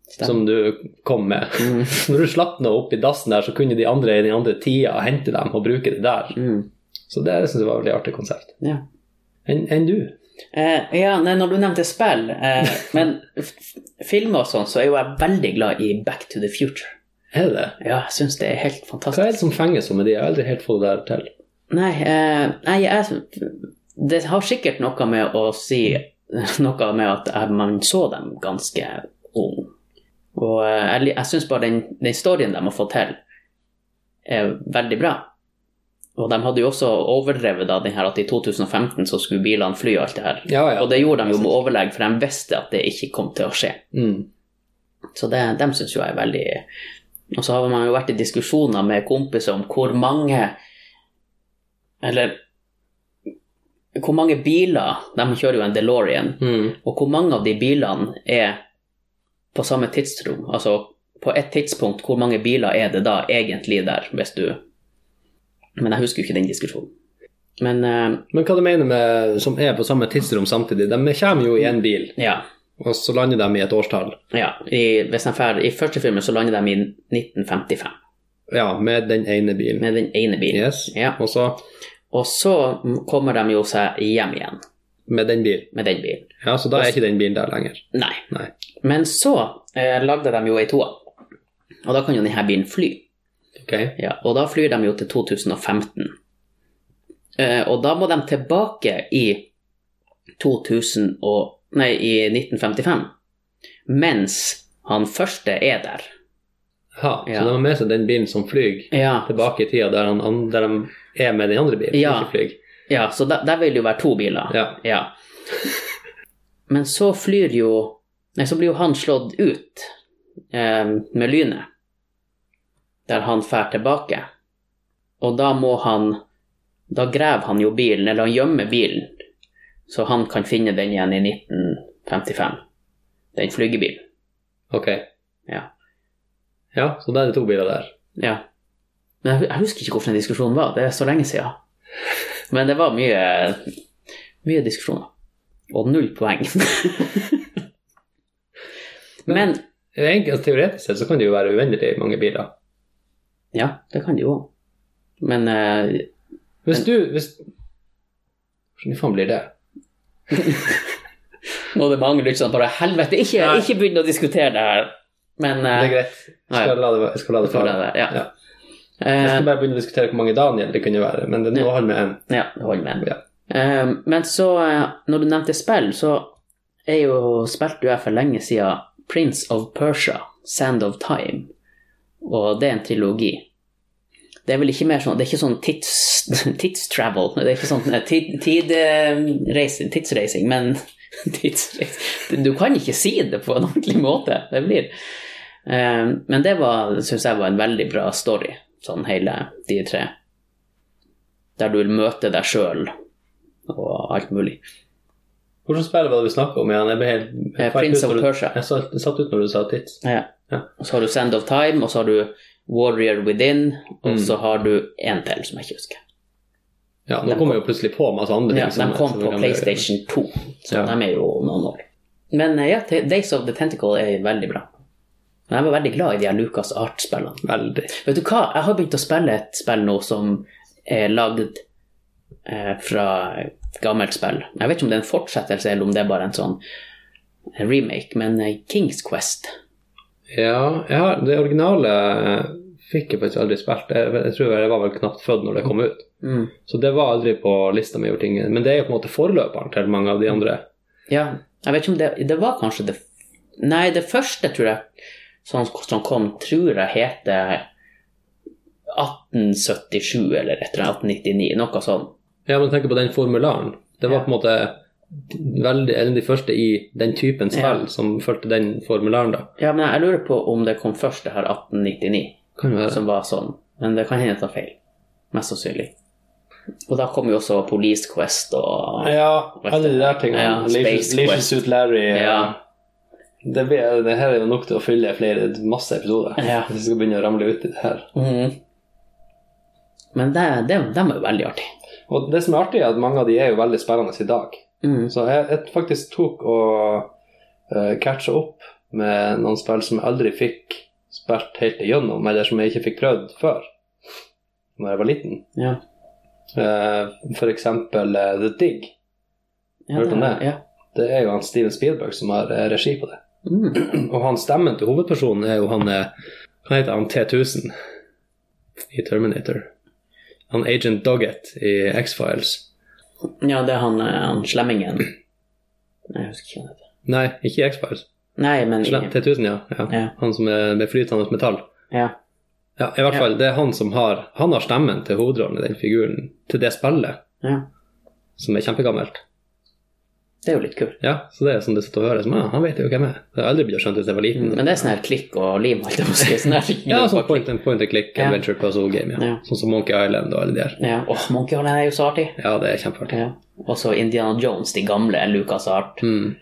[SPEAKER 2] Stemmer.
[SPEAKER 1] som du kom med.
[SPEAKER 2] Mm.
[SPEAKER 1] Når du slapp noe opp i dassen der, så kunne de andre i den andre tida hente dem og bruke det der.
[SPEAKER 2] Mm.
[SPEAKER 1] Så det syns jeg var et veldig artig konsept.
[SPEAKER 2] Ja.
[SPEAKER 1] Enn enn du?
[SPEAKER 2] Eh, ja, nei, når du nevnte spill, eh, men f- f- filmer og sånn, så er jo jeg veldig glad i Back to the Future.
[SPEAKER 1] Er det det?
[SPEAKER 2] Ja, jeg syns det er helt
[SPEAKER 1] Hva er
[SPEAKER 2] fantastisk.
[SPEAKER 1] det som fenger så med de? Jeg har aldri helt fått det der til.
[SPEAKER 2] Nei, eh, nei jeg, det har sikkert noe med å si noe med at eh, man så dem ganske ung. Og eh, jeg, li- jeg syns bare den, den storyen de har fått til, er veldig bra. Og de hadde jo også overdrevet da, den her at i 2015 så skulle bilene fly og alt det her.
[SPEAKER 1] Ja, ja.
[SPEAKER 2] Og det gjorde de jo med overlegg, for de visste at det ikke kom til å skje.
[SPEAKER 1] Mm.
[SPEAKER 2] Så det, dem syns jo jeg er veldig Og så har man jo vært i diskusjoner med kompiser om hvor mange Eller hvor mange biler De kjører jo en DeLorean.
[SPEAKER 1] Mm.
[SPEAKER 2] Og hvor mange av de bilene er på samme tidsrom? Altså på et tidspunkt, hvor mange biler er det da egentlig der, hvis du Men jeg husker jo ikke den diskusjonen. Men eh,
[SPEAKER 1] Men hva du mener med som er på samme tidsrom samtidig? De kommer jo i én bil,
[SPEAKER 2] ja.
[SPEAKER 1] og så lander de i et årstall.
[SPEAKER 2] ja i, hvis de fer, I første filmen så lander de i 1955
[SPEAKER 1] Ja, med den ene bilen.
[SPEAKER 2] med den ene bilen.
[SPEAKER 1] Yes.
[SPEAKER 2] Ja.
[SPEAKER 1] Og så
[SPEAKER 2] Og så kommer de jo seg hjem igjen
[SPEAKER 1] med den bilen.
[SPEAKER 2] med den bilen.
[SPEAKER 1] Ja, så da er ikke den bilen der lenger.
[SPEAKER 2] Nei.
[SPEAKER 1] Nei.
[SPEAKER 2] Men så eh, lagde de jo ei toa, og da kan jo denne bilen fly.
[SPEAKER 1] Ok.
[SPEAKER 2] Ja, og da flyr de jo til 2015. Eh, og da må de tilbake i 2000 og, nei, i 1955, mens han første er der.
[SPEAKER 1] Ha,
[SPEAKER 2] Ja.
[SPEAKER 1] Så de har med seg den bilen som flyr
[SPEAKER 2] Ja,
[SPEAKER 1] tilbake i tida, der, han, an- der de er med den andre bilen.
[SPEAKER 2] Ja.
[SPEAKER 1] Ikke flyr.
[SPEAKER 2] ja så der, der vil det jo være to biler.
[SPEAKER 1] Ja.
[SPEAKER 2] Ja. Men så flyr jo Nei, så blir jo han slått ut eh, med lynet. Der han fær tilbake. Og da må han Da graver han jo bilen, eller han gjemmer bilen, så han kan finne den igjen i 1955. Den flygebilen.
[SPEAKER 1] Ok.
[SPEAKER 2] Ja.
[SPEAKER 1] Ja, så da er det to biler der.
[SPEAKER 2] ja. Men jeg, jeg husker ikke hvorfor den diskusjonen var. Det er så lenge siden. Men det var mye, mye diskusjoner. Og null poeng. Men
[SPEAKER 1] Egentlig, altså, teoretisk sett så kan det jo være uendelig mange biler.
[SPEAKER 2] Ja, det kan de jo. også. Men eh,
[SPEAKER 1] Hvis du hvis... Hvordan i faen blir det?
[SPEAKER 2] Nå er det mange lyttere som bare Helvete, ikke,
[SPEAKER 1] Nei.
[SPEAKER 2] ikke begynn å diskutere det her! Men
[SPEAKER 1] Det er
[SPEAKER 2] eh,
[SPEAKER 1] greit. Jeg skal la det, jeg skal la det
[SPEAKER 2] jeg tror
[SPEAKER 1] fare.
[SPEAKER 2] det er det. Ja.
[SPEAKER 1] Ja. Jeg
[SPEAKER 2] Eh,
[SPEAKER 1] skal bare begynne å diskutere hvor mange Daniel det kunne være, men det nå holder med en.
[SPEAKER 2] ja, det holder med.
[SPEAKER 1] Ja.
[SPEAKER 2] Eh, men så, eh, når du nevnte spill, så er jo spilte jo jeg for lenge siden Prince of Persia, Sand of Time. Og det er en trilogi. Det er vel ikke mer sånn Det er ikke sånn tids, tidstravel. Det er ikke sånn eh, tid, tid, eh, reise- tidsreising, men tidsreising Du kan ikke si det på en ordentlig måte. Det blir Eh, Men det var, syns jeg var en veldig bra story, sånn hele de tre. Der du vil møte deg sjøl og alt mulig.
[SPEAKER 1] Hvilket spill var det vi snakket om igjen? Jeg ble helt...
[SPEAKER 2] Eh,
[SPEAKER 1] jeg falt
[SPEAKER 2] Prince
[SPEAKER 1] ut
[SPEAKER 2] of
[SPEAKER 1] når du-
[SPEAKER 2] Persia.
[SPEAKER 1] Jeg satt, jeg satt ut når du sa tids.
[SPEAKER 2] Ja.
[SPEAKER 1] Ja.
[SPEAKER 2] Og så har du Sand of Time, og så har du Warrior Within, og
[SPEAKER 1] Mm.
[SPEAKER 2] så har du en til som jeg ikke husker.
[SPEAKER 1] Ja, nå
[SPEAKER 2] De
[SPEAKER 1] kommer jeg jo plutselig på masse andre
[SPEAKER 2] Ja,
[SPEAKER 1] ting. som
[SPEAKER 2] de
[SPEAKER 1] jeg-
[SPEAKER 2] kom
[SPEAKER 1] som jeg
[SPEAKER 2] på
[SPEAKER 1] kan-
[SPEAKER 2] PlayStation 2, så
[SPEAKER 1] Ja.
[SPEAKER 2] de er jo noen år. Men eh, ja, T- Days of the Tentacle er veldig bra. Men jeg var veldig glad i de her Lucas Art-spillene.
[SPEAKER 1] Veldig.
[SPEAKER 2] Vet du hva, jeg har begynt å spille et spill nå som er lagd eh, fra et gammelt spill. Jeg vet ikke om det er en fortsettelse, eller om det er bare en sånn remake, men eh, Kings Quest.
[SPEAKER 1] Ja, jeg har, det originale eh, fikk jeg faktisk aldri spilt. Jeg, jeg tror jeg var vel knapt født når det kom ut.
[SPEAKER 2] Mm.
[SPEAKER 1] Så det var aldri på lista mi over ting. Men det er jo på en måte forløperen til mange av de andre.
[SPEAKER 2] Ja, jeg vet ikke om det Det var kanskje det Nei, det første, tror jeg, som, som kom, tror jeg heter 1877 eller et eller annet, 1899, noe sånt.
[SPEAKER 1] Ja, men tenk på den formularen. Det var
[SPEAKER 2] Ja.
[SPEAKER 1] på en måte veldig, en av de første i den typen spill
[SPEAKER 2] Ja.
[SPEAKER 1] som fulgte den formularen, da.
[SPEAKER 2] Ja, men jeg lurer på om det kom først, det her 1899,
[SPEAKER 1] Kan jo være.
[SPEAKER 2] som var sånn. Men det kan hende jeg tar feil. Mest sannsynlig. Og da kom jo også Police Quest og
[SPEAKER 1] Ja, alle de der tingene.
[SPEAKER 2] Ja,
[SPEAKER 1] Leisure
[SPEAKER 2] Space
[SPEAKER 1] Leisure
[SPEAKER 2] Quest.
[SPEAKER 1] Suit Larry. eh,
[SPEAKER 2] Ja.
[SPEAKER 1] Det, blir- det her er jo nok til å fylle flere, masse episoder.
[SPEAKER 2] Ja.
[SPEAKER 1] Hvis vi skal begynne å ramle ut i det her.
[SPEAKER 2] Mhm. Men det, det, dem er jo veldig artig.
[SPEAKER 1] Og det som er artig, er at mange av de er jo veldig spennende i dag.
[SPEAKER 2] Mhm.
[SPEAKER 1] Så jeg, jeg faktisk tok og uh, catcha opp med noen spill som jeg aldri fikk spilt helt igjennom, eller som jeg ikke fikk prøvd før Når jeg var liten.
[SPEAKER 2] Ja.
[SPEAKER 1] Eh, for eksempel eh, The Dig.
[SPEAKER 2] Ja,
[SPEAKER 1] Hørte om det?
[SPEAKER 2] Ja.
[SPEAKER 1] Det er jo han Steven Spielberg som har eh, regi på det.
[SPEAKER 2] Mhm.
[SPEAKER 1] Og han stemmen til hovedpersonen er jo han eh, Hva heter han T1000 i Terminator? Han Agent Doggett i X-Files.
[SPEAKER 2] ja, det er han, eh, han slemmingen. Nei, jeg husker ikke hva han heter.
[SPEAKER 1] Nei, ikke i X-Files.
[SPEAKER 2] Nei, men
[SPEAKER 1] Slem- T1000, ja. ja.
[SPEAKER 2] Ja.
[SPEAKER 1] Han som er med flytende metall.
[SPEAKER 2] ja.
[SPEAKER 1] Ja, i hvert
[SPEAKER 2] Ja.
[SPEAKER 1] fall, det er han som har Han har stemmen til hovedrollen i den figuren, til det spillet,
[SPEAKER 2] ja.
[SPEAKER 1] som er kjempegammelt.
[SPEAKER 2] Det er jo litt kult.
[SPEAKER 1] Ja, så det er sånn det sitter og høres. Men ja, han vet jo hvem jeg er. Det har jeg aldri blitt skjønt hvis jeg var liten.
[SPEAKER 2] Men det er sånn her klikk og lim, holdt jeg på å si. Sånn her.
[SPEAKER 1] Mm. ja, sånn point and, point and click
[SPEAKER 2] Ja.
[SPEAKER 1] adventure puzzle game, ja.
[SPEAKER 2] Ja.
[SPEAKER 1] Sånn som Monkey Island og alle de der.
[SPEAKER 2] Ja. Åh, Monkey Island er jo så artig.
[SPEAKER 1] Ja, det er kjempeartig.
[SPEAKER 2] Ja. Og så Indiana Jones, de gamle Lucas Art.
[SPEAKER 1] Mm.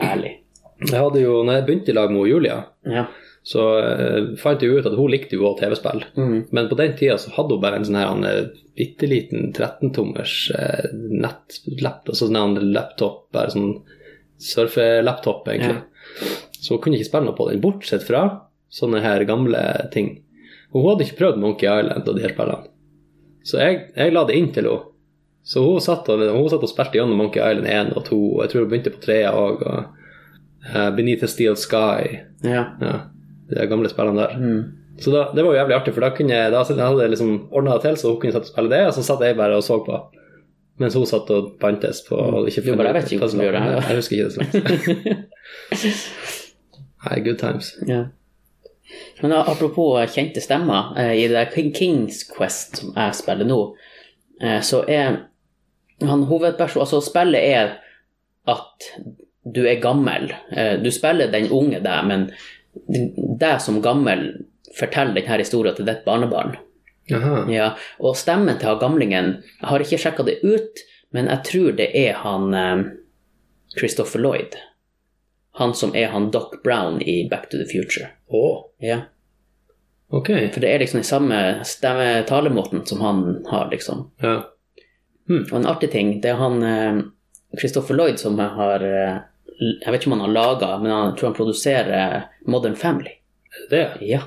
[SPEAKER 2] Herlig.
[SPEAKER 1] Jeg hadde jo, når jeg begynte i lag med Julia,
[SPEAKER 2] Ja.
[SPEAKER 1] så eh, fant jeg jo ut at hun likte jo også TV-spill.
[SPEAKER 2] Mm.
[SPEAKER 1] Men på den tida så hadde hun bare en sånn her en, eh, bitte liten 13-tommers eh, nett, lap, altså sånn her en laptop, bare sånn surfelaptop, egentlig. Så hun kunne ikke spille noe på den, bortsett fra sånne her gamle ting. Og hun hadde ikke prøvd Monkey Island og de her spillene. Så jeg, jeg la det inn til henne. Så hun satt og, hun satt og spilte gjennom Monkey Island 1 og 2, og jeg tror hun begynte på 3 òg. Og eh, Beneath a Steel Sky.
[SPEAKER 2] Ja.
[SPEAKER 1] Ja, de der gamle spillene der.
[SPEAKER 2] Mm.
[SPEAKER 1] Så da, det var jo jævlig artig, for da, kunne jeg, da hadde jeg liksom ordna det til, så hun kunne satt og spille det, og så satt jeg bare og så på. Mens hun satt og bantes på og ikke
[SPEAKER 2] Mm. Jo, bare jeg vet ikke
[SPEAKER 1] hva som
[SPEAKER 2] hvordan vi gjør det her, da.
[SPEAKER 1] Jeg husker ikke det så Nei, good times.
[SPEAKER 2] ja. Men da, apropos eh, kjente stemmer, eh, i det der King Kings Quest som jeg spiller nå, eh, så er han hovedperson Altså, spillet er at du er gammel. Eh, Du spiller den unge deg, men deg som gammel forteller denne historien til ditt barnebarn.
[SPEAKER 1] Aha.
[SPEAKER 2] Ja, og stemmen til han gamlingen Jeg har ikke sjekka det ut, men jeg tror det er han eh, Christopher Lloyd. Han som er han Doc Brown i Back to the Future.
[SPEAKER 1] Å,
[SPEAKER 2] Ja,
[SPEAKER 1] ok.
[SPEAKER 2] For det er liksom den samme stemme talemåten som han har, liksom.
[SPEAKER 1] Ja.
[SPEAKER 2] Og en artig ting, det er han eh, Christopher Lloyd som har eh, l- Jeg vet ikke om han har laga, men han jeg tror han produserer Modern Family.
[SPEAKER 1] Er det Det?
[SPEAKER 2] Ja.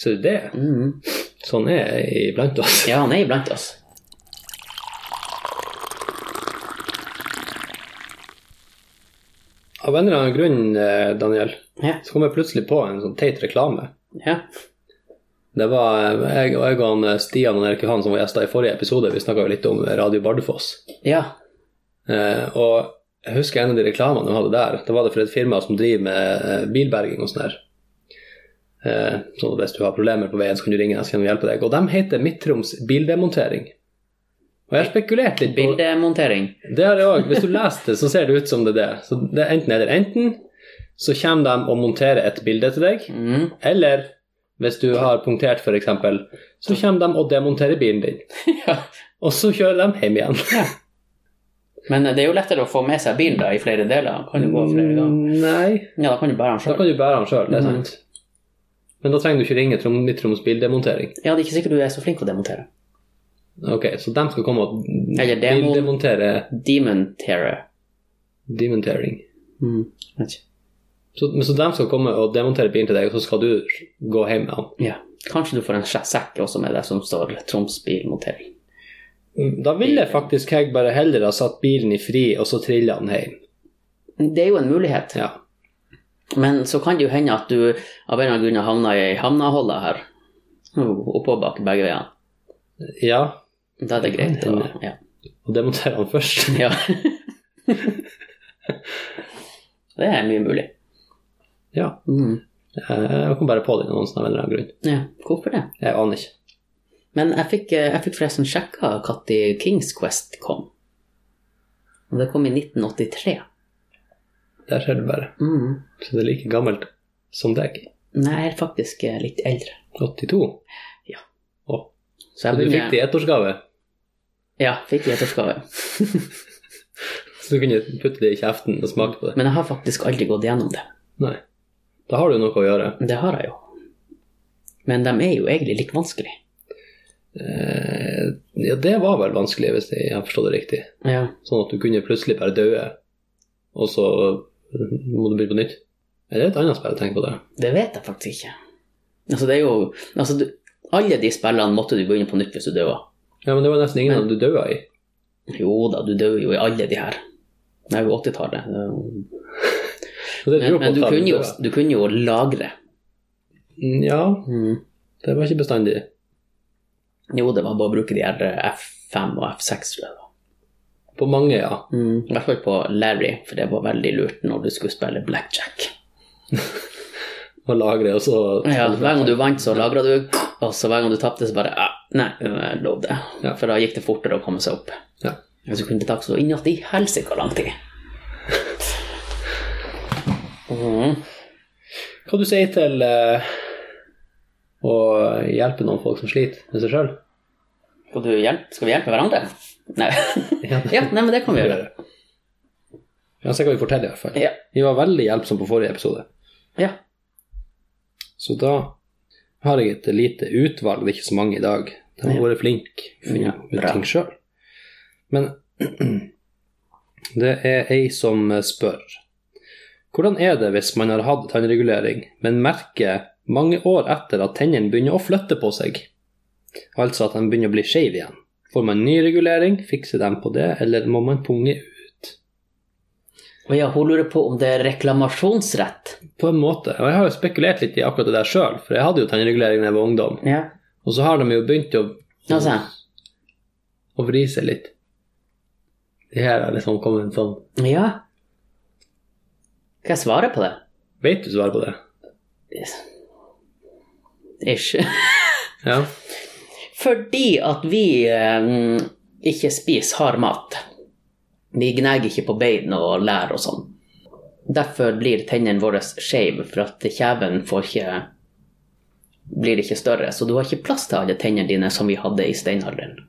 [SPEAKER 1] Så det er det.
[SPEAKER 2] Mhm.
[SPEAKER 1] Sånn er jeg iblant oss.
[SPEAKER 2] ja, han er iblant oss.
[SPEAKER 1] Av en eller annen grunn, eh, Daniel,
[SPEAKER 2] Ja.
[SPEAKER 1] så kom jeg plutselig på en sånn teit reklame.
[SPEAKER 2] ja.
[SPEAKER 1] Det var eh, jeg, jeg og han eh, Stian og Erik Johan som var gjester i forrige episode, vi snakka litt om Radio Bardufoss.
[SPEAKER 2] Ja.
[SPEAKER 1] Eh, og jeg husker en av de reklamene de hadde der. Da var det for et firma som driver med eh, bilberging og sånn her. Eh, så hvis du har problemer på veien, så kan du ringe dem, så kan de hjelpe deg. Og de heter Midt-Troms Bildemontering. Og jeg har spekulert litt på
[SPEAKER 2] Bildemontering.
[SPEAKER 1] det har jeg òg. Hvis du leser det, så ser det ut som det er det. Så det er enten eller. Enten så kommer de og monterer et bilde til deg,
[SPEAKER 2] Mhm.
[SPEAKER 1] eller hvis du har punktert, f.eks., så kommer de og demonterer bilen din.
[SPEAKER 2] Ja.
[SPEAKER 1] Og så kjører de hjem igjen.
[SPEAKER 2] Men det er jo lettere å få med seg bilen da, i flere deler. Kan du gå flere ganger?
[SPEAKER 1] Nei.
[SPEAKER 2] Ja, da kan du bære
[SPEAKER 1] Mm.
[SPEAKER 2] den
[SPEAKER 1] Da
[SPEAKER 2] sjøl.
[SPEAKER 1] kan du bære den sjøl, det er
[SPEAKER 2] Mhm.
[SPEAKER 1] sant. Men da trenger du ikke ringe Trom- Midt-Troms bildemontering.
[SPEAKER 2] Ja, det er ikke sikkert du er så flink å demontere.
[SPEAKER 1] Ok, så de skal komme og
[SPEAKER 2] Eller demo-
[SPEAKER 1] bildemontere
[SPEAKER 2] Demontere.
[SPEAKER 1] demontering.
[SPEAKER 2] Mm. Vet ikke.
[SPEAKER 1] Så, men så de skal komme og demontere bilen til deg, og så skal du gå hjem med den.
[SPEAKER 2] Ja. Kanskje du får en sj- sekk også med det som står Troms bilmontering.
[SPEAKER 1] Da ville faktisk jeg bare heller ha satt bilen i fri, og så trilla den hjem.
[SPEAKER 2] Det er jo en mulighet.
[SPEAKER 1] Ja.
[SPEAKER 2] Men så kan det jo hende at du av en eller annen grunn havna i havneholda her. Oh, Oppå og bak begge veiene.
[SPEAKER 1] ja.
[SPEAKER 2] Da er det greit. å- ja.
[SPEAKER 1] Og demontere den først.
[SPEAKER 2] ja. det er mye mulig.
[SPEAKER 1] Ja.
[SPEAKER 2] Mm.
[SPEAKER 1] Eh, Jeg kom bare på den annonsen av en eller annen grunn.
[SPEAKER 2] Ja, hvorfor det?
[SPEAKER 1] Jeg aner ikke.
[SPEAKER 2] Men jeg fikk, eh, jeg fikk forresten sjekka når Kings Quest kom. Og det kom i 1983.
[SPEAKER 1] Der ser du bare.
[SPEAKER 2] Mm.
[SPEAKER 1] Så det er like gammelt som deg.
[SPEAKER 2] Nei, jeg er faktisk eh, litt eldre.
[SPEAKER 1] 82.
[SPEAKER 2] Ja.
[SPEAKER 1] Å,
[SPEAKER 2] Så
[SPEAKER 1] så
[SPEAKER 2] jeg
[SPEAKER 1] du
[SPEAKER 2] begynner-
[SPEAKER 1] fikk det i ettårsgave?
[SPEAKER 2] Ja, fikk i ettårsgave.
[SPEAKER 1] Så du kunne putte det i kjeften og smake på det.
[SPEAKER 2] Men jeg har faktisk aldri gått gjennom det.
[SPEAKER 1] Nei. Da har du noe å gjøre.
[SPEAKER 2] Det har jeg jo. Men de er jo egentlig litt vanskelig.
[SPEAKER 1] Eh, ja, det var vel vanskelig, hvis jeg har forstått det riktig.
[SPEAKER 2] Ja.
[SPEAKER 1] Sånn at du kunne plutselig bare døde, og så eh, må du begynne på nytt. Er det et annet spill? Tenk på det.
[SPEAKER 2] Det vet jeg faktisk ikke. Altså, det er jo altså, du, Alle de spillene måtte du begynne på nytt hvis du døde.
[SPEAKER 1] Ja, men det var nesten ingen
[SPEAKER 2] Men-
[SPEAKER 1] av dem du døde i.
[SPEAKER 2] Jo da, du dør jo i alle de her. Det er jo 80-tallet. det er jo-
[SPEAKER 1] Og det tror jeg på
[SPEAKER 2] Men, men du,
[SPEAKER 1] at
[SPEAKER 2] kunne jo,
[SPEAKER 1] døde.
[SPEAKER 2] du kunne jo lagre.
[SPEAKER 1] Mm, Ja, det var ikke bestandig.
[SPEAKER 2] Jo, det var bare å bruke de her eh, F5 og F6, tror jeg. det var.
[SPEAKER 1] På mange, ja.
[SPEAKER 2] I hvert fall på Larry, for det var veldig lurt når du skulle spille blackjack.
[SPEAKER 1] Og lagre, og så
[SPEAKER 2] Ja, hver gang du vant, så lagra du, og så hver gang du tapte, så bare ah, Nei, jeg lov det.
[SPEAKER 1] Ja.
[SPEAKER 2] For da gikk det fortere å komme seg opp.
[SPEAKER 1] Ja.
[SPEAKER 2] Og så kunne det ta så inn at i helsike lang tid. Mhm.
[SPEAKER 1] Hva du sier til eh, å hjelpe noen folk som sliter med seg sjøl?
[SPEAKER 2] Skal, du hjelpe? Skal vi hjelpe hverandre? Nei.
[SPEAKER 1] Ja.
[SPEAKER 2] ja, nei, men det kan vi gjøre.
[SPEAKER 1] Ja, så kan vi fortelle, i hvert fall.
[SPEAKER 2] Ja.
[SPEAKER 1] Vi var veldig hjelpsomme på forrige episode.
[SPEAKER 2] ja.
[SPEAKER 1] Så da har jeg et lite utvalg, det er ikke så mange i dag. De har
[SPEAKER 2] Ja.
[SPEAKER 1] vært flinke til å finne
[SPEAKER 2] Ja,
[SPEAKER 1] ut
[SPEAKER 2] bra.
[SPEAKER 1] ting sjøl. Men det er ei som spør. Hvordan er det hvis man har hatt tannregulering, men merker mange år etter at tennene begynner å flytte på seg? Altså at de begynner å bli skeive igjen. Får man ny regulering, fikser de på det, eller må man punge ut?
[SPEAKER 2] Og ja, hun lurer på om det er reklamasjonsrett.
[SPEAKER 1] På en måte. Og jeg har jo spekulert litt i akkurat det der sjøl, for jeg hadde jo tannregulering da jeg var ungdom.
[SPEAKER 2] Ja.
[SPEAKER 1] Og så har de jo begynt å,
[SPEAKER 2] Altså,
[SPEAKER 1] å vri seg litt. Det her er liksom kommet en sånn
[SPEAKER 2] ja. Skal jeg svare på det?
[SPEAKER 1] Vet du svaret på det?
[SPEAKER 2] Ish.
[SPEAKER 1] Ja.
[SPEAKER 2] Fordi at vi eh, ikke spiser hard mat. Vi gnager ikke på bein og lær og sånn. Derfor blir tennene våre skeive, for at kjeven får ikke blir ikke større. Så du har ikke plass til alle tennene dine som vi hadde i steinalderen.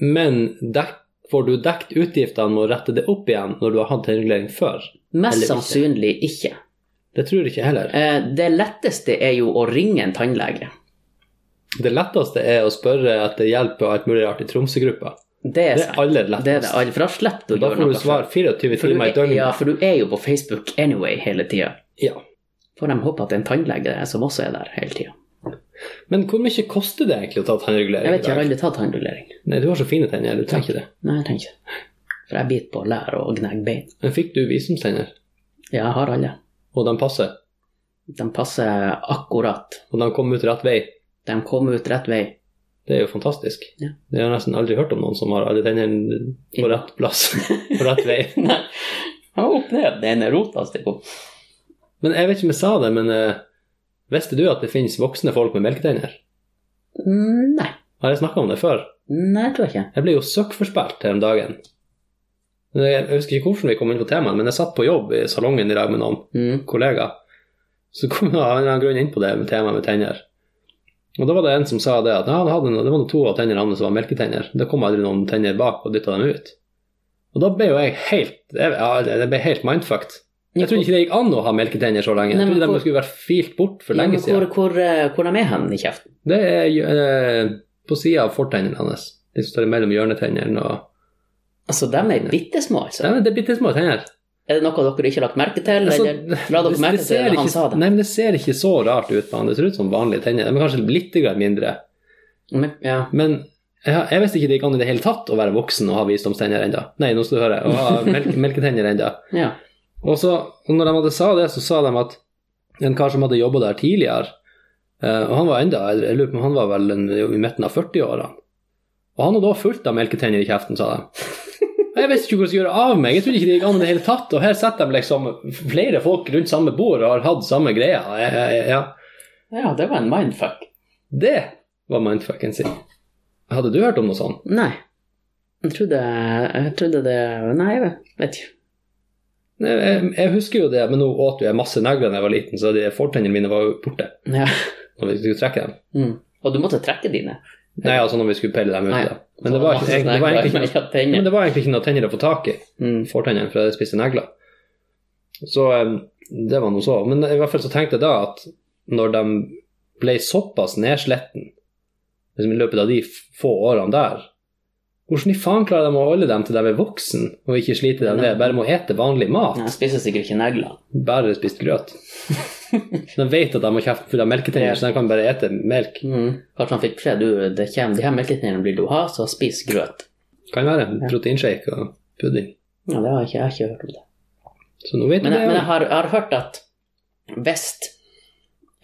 [SPEAKER 1] Men dekk, får du dekt utgiftene med å rette det opp igjen når du har hatt tannregulering før?
[SPEAKER 2] Mest
[SPEAKER 1] Eller ikke.
[SPEAKER 2] sannsynlig ikke.
[SPEAKER 1] Det tror jeg ikke heller.
[SPEAKER 2] Eh, Det letteste er jo å ringe en tannlege.
[SPEAKER 1] Det letteste er å spørre etter hjelp og alt mulig rart i Tromsø-gruppa.
[SPEAKER 2] Det er,
[SPEAKER 1] Det er aller
[SPEAKER 2] det er det
[SPEAKER 1] lettest.
[SPEAKER 2] aller, for da slipper du å
[SPEAKER 1] Da
[SPEAKER 2] gjøre
[SPEAKER 1] får
[SPEAKER 2] noe.
[SPEAKER 1] du svar 24
[SPEAKER 2] for
[SPEAKER 1] timer i
[SPEAKER 2] du, er-
[SPEAKER 1] døgnet.
[SPEAKER 2] ja, for du er jo på Facebook anyway hele tida.
[SPEAKER 1] Ja.
[SPEAKER 2] Får de håpe at det er en tannlege som også er der hele tida.
[SPEAKER 1] Men hvor mye koster det egentlig å ta
[SPEAKER 2] Jeg
[SPEAKER 1] tannregulering?
[SPEAKER 2] vet ikke, jeg har
[SPEAKER 1] i dag?
[SPEAKER 2] aldri tatt tannrullering.
[SPEAKER 1] Nei, du har så fine tenner, du trenger ikke det.
[SPEAKER 2] Nei, jeg trenger ikke. For jeg biter på lær og gnegger bein.
[SPEAKER 1] Men fikk du visumstenner,
[SPEAKER 2] Ja, jeg har alle.
[SPEAKER 1] og de passer,
[SPEAKER 2] De passer akkurat.
[SPEAKER 1] og de kom ut rett vei,
[SPEAKER 2] De kom ut rett vei.
[SPEAKER 1] det er jo fantastisk.
[SPEAKER 2] Ja.
[SPEAKER 1] Jeg har nesten aldri hørt om noen som har alle tennene på rett plass, på rett vei.
[SPEAKER 2] Nei, han var opp ned. Den er rota stikk opp.
[SPEAKER 1] Men jeg vet ikke om jeg sa det, men eh, visste du at det finnes voksne folk med melketenner?
[SPEAKER 2] Mm, Nei.
[SPEAKER 1] Har jeg snakka om det før?
[SPEAKER 2] Nei, jeg tror ikke.
[SPEAKER 1] Jeg ble jo søkkforspilt her om dagen. Men Jeg jeg husker ikke hvordan vi kom inn på temaet, men jeg satt på jobb i salongen i dag med noen
[SPEAKER 2] Mm.
[SPEAKER 1] kollegaer. Så kom jeg av en eller annen grunn inn på det med temaet med tenner. Og da var det en som sa det at ja, det, hadde, det var noen to av tennene hans som var melketenner. Det kom aldri noen tenner bak og dytta dem ut. Og da ble jo jeg helt jeg, ja, jeg ble helt mindfucked. Jeg trodde ikke det gikk an å ha melketenner så lenge.
[SPEAKER 2] Nei,
[SPEAKER 1] Jeg
[SPEAKER 2] men
[SPEAKER 1] trodde
[SPEAKER 2] hvor-
[SPEAKER 1] de skulle vært filt bort for
[SPEAKER 2] Ja, men
[SPEAKER 1] lenge
[SPEAKER 2] hvor,
[SPEAKER 1] siden.
[SPEAKER 2] hvor, eh, hvor de er hen i kjeften?
[SPEAKER 1] Det er jo, eh, på sida av fortennene hans. De som står mellom hjørnetennene og
[SPEAKER 2] Altså, de er bitte små, altså.
[SPEAKER 1] Nei, men Det er bitte små tenner.
[SPEAKER 2] Er det noe dere ikke har lagt merke til?
[SPEAKER 1] Altså,
[SPEAKER 2] Eller la dere merke til det
[SPEAKER 1] ser
[SPEAKER 2] han
[SPEAKER 1] ikke,
[SPEAKER 2] sa det?
[SPEAKER 1] Nei, men det ser ikke så rart ut på han. Det ser ut som vanlige tenner. De er kanskje litt grann mindre.
[SPEAKER 2] Men, ja.
[SPEAKER 1] Men jeg, har- jeg visste ikke det gikk an i det hele tatt å være voksen og ha visdomstenner enda. Nei, nå skal du høre. Å ha melk, melketenner enda.
[SPEAKER 2] ja.
[SPEAKER 1] Og så, og når de hadde sa det, så sa de at en kar som hadde jobba der tidligere, eh, og han var enda eldre, jeg lurer på om han var vel en, i midten av 40-årene, og han hadde også fullt av melketenner i kjeften, sa de. Og Jeg visste ikke hva jeg skulle gjøre av meg, jeg trodde ikke det gikk an i det hele tatt, og her setter de liksom flere folk rundt samme bord og har hatt samme greia. Jeg- jeg- jeg- Ja.
[SPEAKER 2] ja, det var en mindfuck.
[SPEAKER 1] Det var mindfucken sin. Hadde du hørt om noe sånt?
[SPEAKER 2] Nei. Jeg trodde, jeg trodde det Nei, jeg vet ikke.
[SPEAKER 1] Nei, Jeg, jeg husker jo det, men nå åt jo jeg masse negler da jeg var liten, så de fortennene mine var jo borte
[SPEAKER 2] Ja. Mm.
[SPEAKER 1] når vi skulle trekke dem.
[SPEAKER 2] Og du måtte trekke dine.
[SPEAKER 1] Nei, altså når vi skulle pelle dem ut.
[SPEAKER 2] Nei.
[SPEAKER 1] da. Men det var, ikke- egentlig- det var egentlig ikke noe Men
[SPEAKER 2] ikke tenner.
[SPEAKER 1] det var egentlig ikke noe tenner å få tak i,
[SPEAKER 2] Mm.
[SPEAKER 1] fortennene, for jeg spiste negler. Så eh, det var noe så. Men i hvert fall så tenkte jeg da at når de ble såpass nedsletten liksom i løpet av de f- få årene der, hvordan i faen klarer de å holde dem til de er voksen og ikke slite dem ned, bare må ete vanlig mat,
[SPEAKER 2] Jeg spiser sikkert ikke negler.
[SPEAKER 1] bare spist grøt? De vet at de har kjeft full av melketenner, så de kan bare ete melk.
[SPEAKER 2] Mm. Kanskje han fikk beskjed du, det kommer, de her melketennene vil du ha, så spis grøt.
[SPEAKER 1] Kan være proteinshake og pudding.
[SPEAKER 2] Ja, det har jeg ikke, jeg har ikke hørt om det.
[SPEAKER 1] Så nå vet du
[SPEAKER 2] Men,
[SPEAKER 1] det.
[SPEAKER 2] jeg- men jeg,
[SPEAKER 1] ja.
[SPEAKER 2] har, jeg har hørt at hvis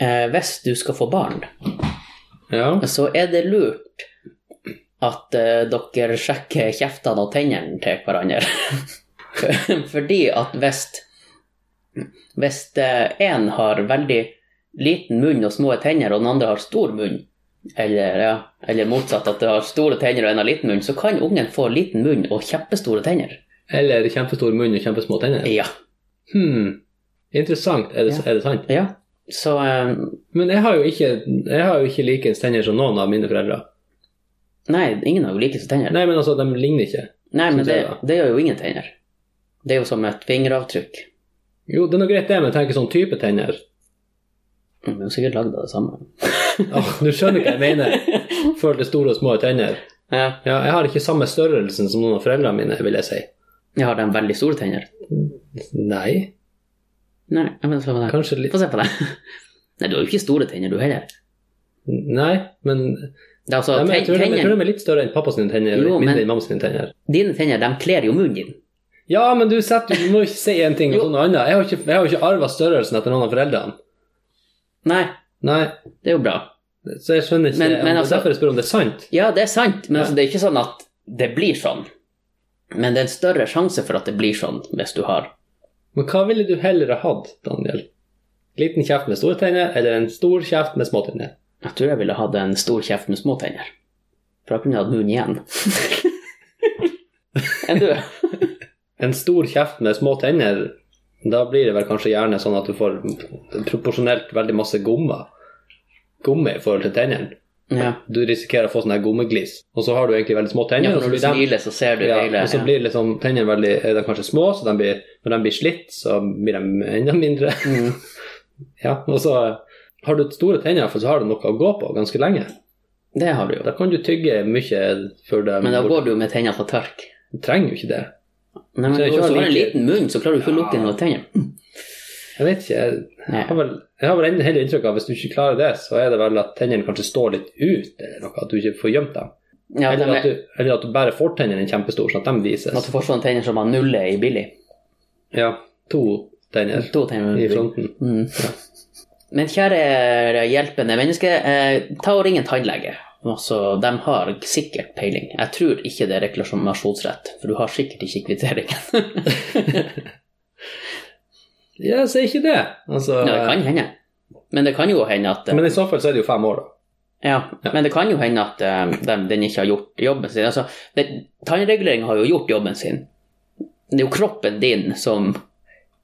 [SPEAKER 2] eh, hvis du skal få barn,
[SPEAKER 1] Ja.
[SPEAKER 2] så er det lurt at eh, dere sjekker kjeftene og tennene til hverandre. Fordi at hvis hvis én har veldig liten munn og små tenner, og den andre har stor munn, eller, ja, eller motsatt, at det har store tenner og en har liten munn, så kan ungen få liten munn og kjempestore tenner.
[SPEAKER 1] Eller kjempestor munn og kjempesmå tenner.
[SPEAKER 2] Ja.
[SPEAKER 1] Hmm. Interessant. Er det,
[SPEAKER 2] Ja.
[SPEAKER 1] er det sant?
[SPEAKER 2] ja. Så eh,
[SPEAKER 1] Men jeg har jo ikke, jeg har jo ikke likens tenner som noen av mine foreldre.
[SPEAKER 2] Nei, ingen har jo like store tenner. Nei,
[SPEAKER 1] Nei, men altså, de ligner ikke.
[SPEAKER 2] men
[SPEAKER 1] synes
[SPEAKER 2] det,
[SPEAKER 1] jeg da.
[SPEAKER 2] det gjør jo ingen tenner. Det er jo som et fingeravtrykk.
[SPEAKER 1] Jo, det er noe greit det, men jeg tenker sånn type tenner.
[SPEAKER 2] Men det er jo sikkert lagd av det samme.
[SPEAKER 1] Åh, du skjønner hva jeg mener. Føler det store og små tenner.
[SPEAKER 2] Ja.
[SPEAKER 1] Ja, jeg har ikke samme størrelsen som noen av foreldrene mine, vil jeg si.
[SPEAKER 2] Ja, har de veldig store tenner?
[SPEAKER 1] Nei,
[SPEAKER 2] Nei, jeg mener, få, se
[SPEAKER 1] kanskje
[SPEAKER 2] på det.
[SPEAKER 1] litt
[SPEAKER 2] få se på det. Nei, du har jo ikke store tenner, du heller.
[SPEAKER 1] Nei, men
[SPEAKER 2] Det er altså,
[SPEAKER 1] Nei, men jeg,
[SPEAKER 2] ten,
[SPEAKER 1] tror de, jeg tror
[SPEAKER 2] tenner,
[SPEAKER 1] de er litt større enn pappas tenner og
[SPEAKER 2] Jo,
[SPEAKER 1] litt
[SPEAKER 2] men-
[SPEAKER 1] mindre enn mammas tenner.
[SPEAKER 2] dine tenner, de kler jo munnen din.
[SPEAKER 1] Ja, men du, setter, du må jo ikke si en ting og
[SPEAKER 2] Jo.
[SPEAKER 1] så noe annet. Jeg har ikke, jeg har ikke arva størrelsen etter noen av foreldrene.
[SPEAKER 2] Nei,
[SPEAKER 1] Nei,
[SPEAKER 2] det er jo bra.
[SPEAKER 1] så jeg skjønner ikke
[SPEAKER 2] Men- men
[SPEAKER 1] Det er
[SPEAKER 2] altså-
[SPEAKER 1] Derfor jeg spør om det er sant.
[SPEAKER 2] Ja, det er sant, men
[SPEAKER 1] Ja.
[SPEAKER 2] altså, det er ikke sånn at det blir sånn. Men det er en større sjanse for at det blir sånn, hvis du har.
[SPEAKER 1] Men hva ville du heller ha hatt, Daniel? Liten kjeft med store tenner, eller en stor kjeft med små tenner?
[SPEAKER 2] Jeg tror jeg ville hatt en stor kjeft med små tenner. For da kunne jeg hatt munnen igjen. Enn du?
[SPEAKER 1] En stor kjeft med små tenner, da blir det vel kanskje gjerne sånn at du får proporsjonelt veldig masse gomme. Gomme i forhold til tennene.
[SPEAKER 2] Ja.
[SPEAKER 1] Du risikerer å få sånn her gommeglis, og så har du egentlig veldig små
[SPEAKER 2] ja,
[SPEAKER 1] tenner. og så
[SPEAKER 2] for når du
[SPEAKER 1] blir de-
[SPEAKER 2] smiler, så ser du
[SPEAKER 1] ja,
[SPEAKER 2] hele
[SPEAKER 1] og så
[SPEAKER 2] ja.
[SPEAKER 1] blir liksom tennene veldig, er de kanskje små, så de blir, når de blir slitt, så blir de enda mindre.
[SPEAKER 2] Mm.
[SPEAKER 1] Ja, og så har du store tenner, for så har du noe å gå på ganske lenge.
[SPEAKER 2] Det har du jo.
[SPEAKER 1] Da kan du tygge mye før de
[SPEAKER 2] Men da går du jo med tennene på tørk.
[SPEAKER 1] Du trenger jo ikke det.
[SPEAKER 2] Nei, men
[SPEAKER 1] Så det er ikke
[SPEAKER 2] Hvis sånn du har en
[SPEAKER 1] like-
[SPEAKER 2] liten munn, så klarer du ikke å lukke noen tenner.
[SPEAKER 1] Jeg vet ikke. Jeg, jeg har vel, jeg har vel enda heller inntrykk av at hvis du ikke klarer det, så er det vel at tennene kanskje står litt ut, eller noe, at du ikke får gjemt dem.
[SPEAKER 2] Ja,
[SPEAKER 1] eller,
[SPEAKER 2] men-
[SPEAKER 1] at du, eller at du bare får tennene kjempestore, sånn at de
[SPEAKER 2] At du
[SPEAKER 1] vises.
[SPEAKER 2] får sånne tenner som man nuller i billig.
[SPEAKER 1] Ja, to tenner
[SPEAKER 2] To tenner
[SPEAKER 1] i sånn.
[SPEAKER 2] i billig.
[SPEAKER 1] fronten.
[SPEAKER 2] Mm. Men kjære hjelpende menneske, eh, ta og ring en tannlege. Altså, de har sikkert peiling. Jeg tror ikke det er reklamasjonsrett, for du har sikkert ikke kvitteringen.
[SPEAKER 1] Ja, si ikke det. Altså,
[SPEAKER 2] Ja, det kan hende. Men det kan jo hende at
[SPEAKER 1] men i så fall så er det jo fem år, da.
[SPEAKER 2] Ja,
[SPEAKER 1] Ja.
[SPEAKER 2] men det kan jo hende at eh, den, den ikke har gjort jobben sin. Altså, det- Tannregulering har jo gjort jobben sin. Det er jo kroppen din som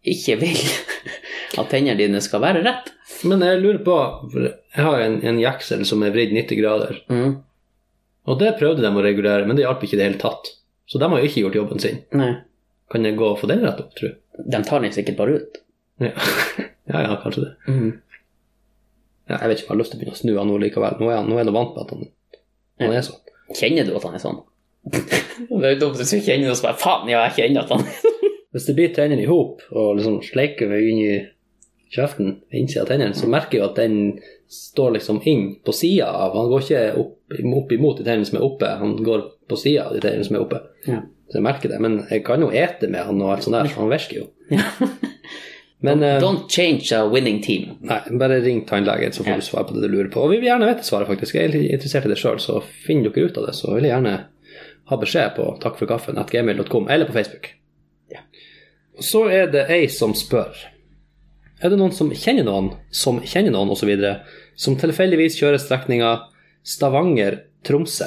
[SPEAKER 2] ikke vil at tennene dine skal være rett.
[SPEAKER 1] Men jeg lurer på for Jeg har en, en jeksel som er vridd 90 grader,
[SPEAKER 2] Mm.
[SPEAKER 1] og det prøvde de å regulere, men det hjalp ikke i det hele tatt. Så de har jo ikke gjort jobben sin.
[SPEAKER 2] Nei.
[SPEAKER 1] Kan jeg gå og få den rett opp, tror du?
[SPEAKER 2] De tar den sikkert bare ut.
[SPEAKER 1] Ja. ja, ja, kanskje det. Ja, Mhm. jeg vet ikke om jeg har lyst til å begynne å snu han nå likevel. Nå er han, nå er han vant med at han, han er sånn.
[SPEAKER 2] Kjenner du at han er sånn? det er jo dumt hvis du kjenner noe som er faen, ja, jeg kjenner at han
[SPEAKER 1] Hvis det blir tennene i hop og liksom sleiker vi inn i kjeften, innsida av tennene, så merker jeg jo at den står liksom inn på sida av Han går ikke opp, opp imot de tennene som er oppe, han går på sida av de tennene som er oppe.
[SPEAKER 2] Ja.
[SPEAKER 1] Så jeg merker det. Men jeg kan jo ete med han og alt sånt der, så han virker jo. Men eh,
[SPEAKER 2] Don't change a winning team.
[SPEAKER 1] nei, bare ring tannlegen, så
[SPEAKER 2] Ja.
[SPEAKER 1] får du svar på det du lurer på. Og vi vil gjerne vite svaret, faktisk. Jeg er litt interessert i det sjøl, så finner dere ut av det, så vil jeg gjerne ha beskjed på takkforkaffen.gmail.com eller på Facebook. Og Så er det ei som spør. Er det noen som kjenner noen som kjenner noen osv., som tilfeldigvis kjører strekninga Stavanger-Tromsø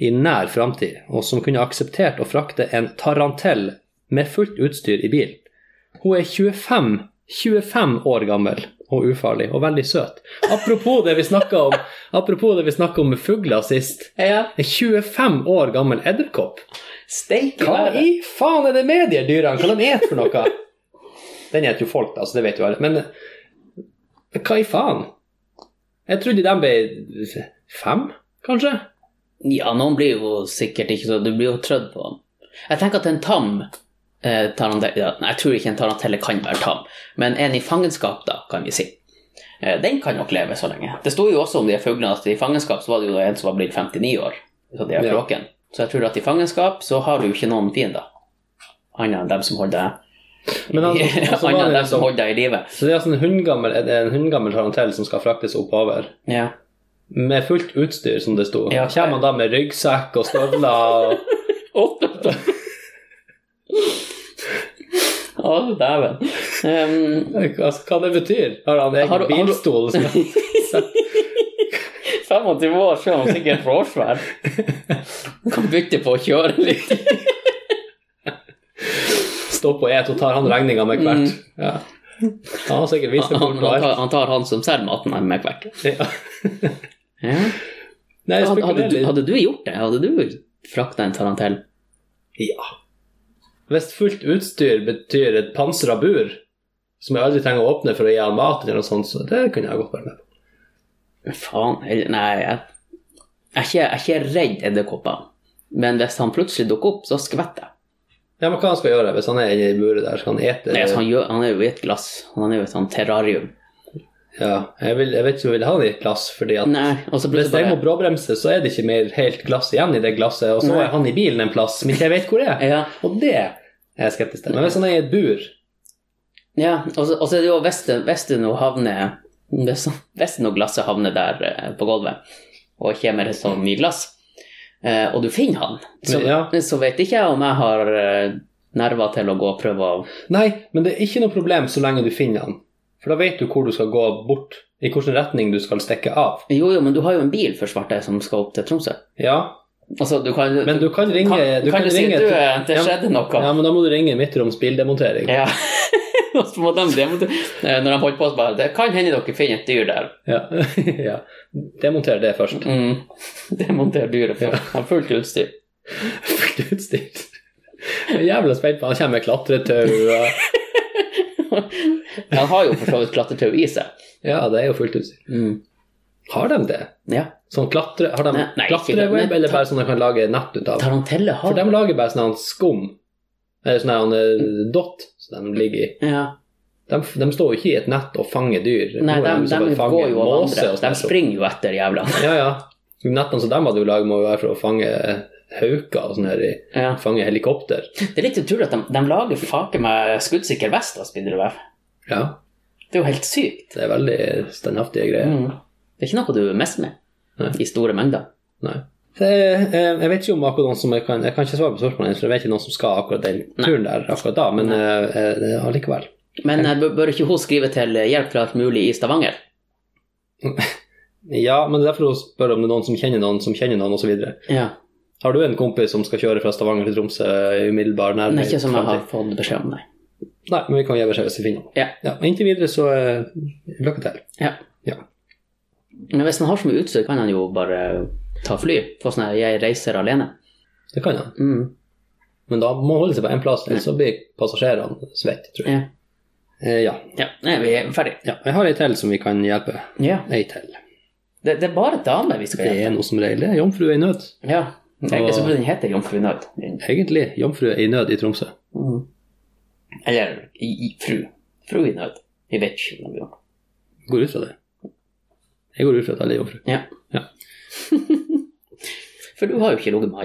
[SPEAKER 1] i nær framtid, og som kunne akseptert å frakte en tarantell med fullt utstyr i bil? Hun er 25, 25 år gammel og ufarlig, og veldig søt. Apropos det vi snakka om, Apropos det vi snakka om med fugler sist.
[SPEAKER 2] Ja.
[SPEAKER 1] En 25 år gammel edderkopp.
[SPEAKER 2] Steike
[SPEAKER 1] Hva
[SPEAKER 2] være.
[SPEAKER 1] i faen er det med de dyrene? Hva de et for noe? Den heter jo folk, da, så det vet jo alle. Men men hva i faen? Jeg trodde de ble fem, kanskje?
[SPEAKER 2] Ja, noen blir jo sikkert ikke så Du blir jo trødd på dem. Jeg tenker at en tam eh, tarantella- ja, Nei, jeg tror ikke en tarantelle kan være tam, men en i fangenskap, da, kan vi si. Eh, den kan nok leve så lenge. Det sto jo også om de her fuglene at i fangenskap så var det jo en som var blitt 59 år. Så, de her
[SPEAKER 1] Ja.
[SPEAKER 2] kråkene. så jeg tror at i fangenskap så har du jo ikke noen fiender. Annet enn dem som holder deg
[SPEAKER 1] Men han- altså, var
[SPEAKER 2] Annet
[SPEAKER 1] det
[SPEAKER 2] enn dem
[SPEAKER 1] liksom-
[SPEAKER 2] som holder deg i live.
[SPEAKER 1] Så det er altså en hundgammel, en hundgammel tarantell som skal fraktes oppover.
[SPEAKER 2] Ja.
[SPEAKER 1] Med fullt utstyr, som det sto.
[SPEAKER 2] Ja.
[SPEAKER 1] Kommer han da med ryggsekk og støvler? Og...
[SPEAKER 2] Åtte Å, dæven. Um,
[SPEAKER 1] Altså, hva det betyr? Har han egen
[SPEAKER 2] Har du- har du-
[SPEAKER 1] bilstol? som-
[SPEAKER 2] 25 år så er han sikkert råsvær. Kan bytte på å kjøre litt.
[SPEAKER 1] Stå på et og tar han regninga med hvert. Ja. Han har sikkert vist det
[SPEAKER 2] Mm. Han, han,
[SPEAKER 1] bort. og
[SPEAKER 2] tar,
[SPEAKER 1] alt.
[SPEAKER 2] han tar han som selger maten her med hvert.
[SPEAKER 1] Ja.
[SPEAKER 2] Ja.
[SPEAKER 1] Nei, jeg
[SPEAKER 2] Hadde, hadde,
[SPEAKER 1] spekulerer
[SPEAKER 2] du,
[SPEAKER 1] litt.
[SPEAKER 2] hadde du gjort det? Hadde du frakta en tarantell?
[SPEAKER 1] Ja. Hvis fullt utstyr betyr et pansra bur, som jeg aldri trenger å åpne for å gi han mat, eller noe sånt, så det kunne jeg godt vært med på.
[SPEAKER 2] Men Faen, jeg- nei. Jeg, jeg, er ikke, jeg er ikke redd edderkopper. Men hvis han plutselig dukker opp, så skvetter jeg.
[SPEAKER 1] Ja, men hva han skal gjøre hvis han er inne i buret der? Skal han ete?
[SPEAKER 2] Nei, altså, han, gjør, han er jo i et glass. Han er jo i et sånt terrarium.
[SPEAKER 1] Ja, jeg, vil, jeg vet ikke om jeg vil ha det i et glass, fordi at
[SPEAKER 2] Nei, og så
[SPEAKER 1] hvis
[SPEAKER 2] plutselig
[SPEAKER 1] jeg må
[SPEAKER 2] bare
[SPEAKER 1] bråbremse, så er det ikke mer helt glass igjen i det glasset, og så
[SPEAKER 2] Nei.
[SPEAKER 1] er han i bilen en plass som ikke jeg vet hvor er.
[SPEAKER 2] ja,
[SPEAKER 1] Og det er jeg skeptisk til. Men hvis han er i et bur
[SPEAKER 2] ja, og så og så er det jo hvis det- hvis det nå havner hvis hvis det nå glasset havner der eh, på gulvet, og kommer et sånt mye glass, eh, og du finner han, så,
[SPEAKER 1] Men, ja.
[SPEAKER 2] så vet ikke jeg om jeg har eh, nerver til å gå og prøve å
[SPEAKER 1] Nei, men det er ikke noe problem så lenge du finner han. For da vet du hvor du skal gå bort, i hvilken retning du skal stikke av.
[SPEAKER 2] Jo, jo, men du har jo en bil for svarte som skal opp til Tromsø.
[SPEAKER 1] Ja,
[SPEAKER 2] Altså, du kan
[SPEAKER 1] men du kan ringe
[SPEAKER 2] kan,
[SPEAKER 1] Du kan,
[SPEAKER 2] du si
[SPEAKER 1] ringe
[SPEAKER 2] at du, eh, det
[SPEAKER 1] Ja, men-
[SPEAKER 2] skjedde noe.
[SPEAKER 1] Ja, men da må du ringe Midtroms bildemontering.
[SPEAKER 2] Ja. Og så må de, det må du, eh, når de holdt på, så bare Det kan hende dere finner et dyr der.
[SPEAKER 1] Ja. ja. Demonter det først.
[SPEAKER 2] Mm. Demonter dyret for har fullt utstyr.
[SPEAKER 1] Fullt utstyrt. Jeg er Jævla spent på han kommer med klatretau og
[SPEAKER 2] Han har jo for så vidt klatretau i seg.
[SPEAKER 1] Ja, det er jo fullt utstyr. Har de det?
[SPEAKER 2] Mm. Ja.
[SPEAKER 1] Sånn klatre... Har de
[SPEAKER 2] Nei, nei, ikke-
[SPEAKER 1] klatreweb,
[SPEAKER 2] nei,
[SPEAKER 1] eller
[SPEAKER 2] ta-
[SPEAKER 1] bare sånn de kan lage nett ut av?
[SPEAKER 2] Tarantelle
[SPEAKER 1] For
[SPEAKER 2] har
[SPEAKER 1] de lager bare sånn her skum, eller sånn her eh, dott, som de ligger i.
[SPEAKER 2] ja.
[SPEAKER 1] De, de står jo ikke i et nett og fanger dyr.
[SPEAKER 2] Nei,
[SPEAKER 1] Nå
[SPEAKER 2] de,
[SPEAKER 1] er
[SPEAKER 2] de,
[SPEAKER 1] som bare fanger
[SPEAKER 2] går jo av
[SPEAKER 1] måse
[SPEAKER 2] andre.
[SPEAKER 1] og
[SPEAKER 2] De
[SPEAKER 1] sånt.
[SPEAKER 2] springer jo etter jævlene.
[SPEAKER 1] Ja, ja. Nettene som de hadde jo laget, må jo være for å fange hauker og sånn her, i-
[SPEAKER 2] Ja.
[SPEAKER 1] fange helikopter.
[SPEAKER 2] Det er litt utrolig at de, de lager fake med skuddsikker vest av spindelvev.
[SPEAKER 1] Ja,
[SPEAKER 2] Det er jo helt sykt.
[SPEAKER 1] det er veldig standhaftige greier.
[SPEAKER 2] Mm. Det er ikke noe du er mest med
[SPEAKER 1] Nei.
[SPEAKER 2] i store mengder.
[SPEAKER 1] Nei. Det, eh, jeg vet ikke om akkurat noen som jeg kan Jeg kan ikke svare på spørsmålet, for jeg vet ikke noen som skal akkurat den turen der akkurat da, men eh, eh, allikevel.
[SPEAKER 2] Men eh, bør bør ikke hun skrive til eh, Hjelp fra alt mulig i Stavanger?
[SPEAKER 1] Ja, men det er derfor hun spør om det er noen som kjenner noen som kjenner noen, osv.
[SPEAKER 2] Ja.
[SPEAKER 1] Har du en kompis som skal kjøre fra Stavanger til Tromsø i umiddelbar
[SPEAKER 2] Det
[SPEAKER 1] nærhet?
[SPEAKER 2] er ikke som jeg har fått beskjed om, nei.
[SPEAKER 1] Nei, men vi kan gi beskjed hvis vi finner noen.
[SPEAKER 2] Ja.
[SPEAKER 1] men Inntil videre, så eh, lykke til.
[SPEAKER 2] Ja.
[SPEAKER 1] Ja.
[SPEAKER 2] Men hvis han har så mye utstyr, kan han jo bare eh, ta fly. Få sånn her 'jeg reiser alene'.
[SPEAKER 1] Det kan han.
[SPEAKER 2] Mm.
[SPEAKER 1] Men da må han holde seg på én plass, ellers så blir passasjerene svette, tror jeg.
[SPEAKER 2] Ja.
[SPEAKER 1] Eh, ja.
[SPEAKER 2] ja. Nei, vi er ferdig.
[SPEAKER 1] ja. Jeg har ei til som vi kan hjelpe.
[SPEAKER 2] Ja.
[SPEAKER 1] Ei til.
[SPEAKER 2] Det, det er bare damer vi skal
[SPEAKER 1] Det
[SPEAKER 2] hjelpe.
[SPEAKER 1] er noe som regel det er jomfrue i nød.
[SPEAKER 2] Ja. Egentlig så burde den hete Jomfru Nød.
[SPEAKER 1] Egentlig jomfrue i nød i Tromsø.
[SPEAKER 2] Mm. Eller i, i, Fru. Fru i nød. Vi vet ikke hva vi gjør.
[SPEAKER 1] Jeg går ut fra det. Jeg går ut fra at alle er jomfru.
[SPEAKER 2] Ja.
[SPEAKER 1] Ja.
[SPEAKER 2] For du har jo ikke ligget med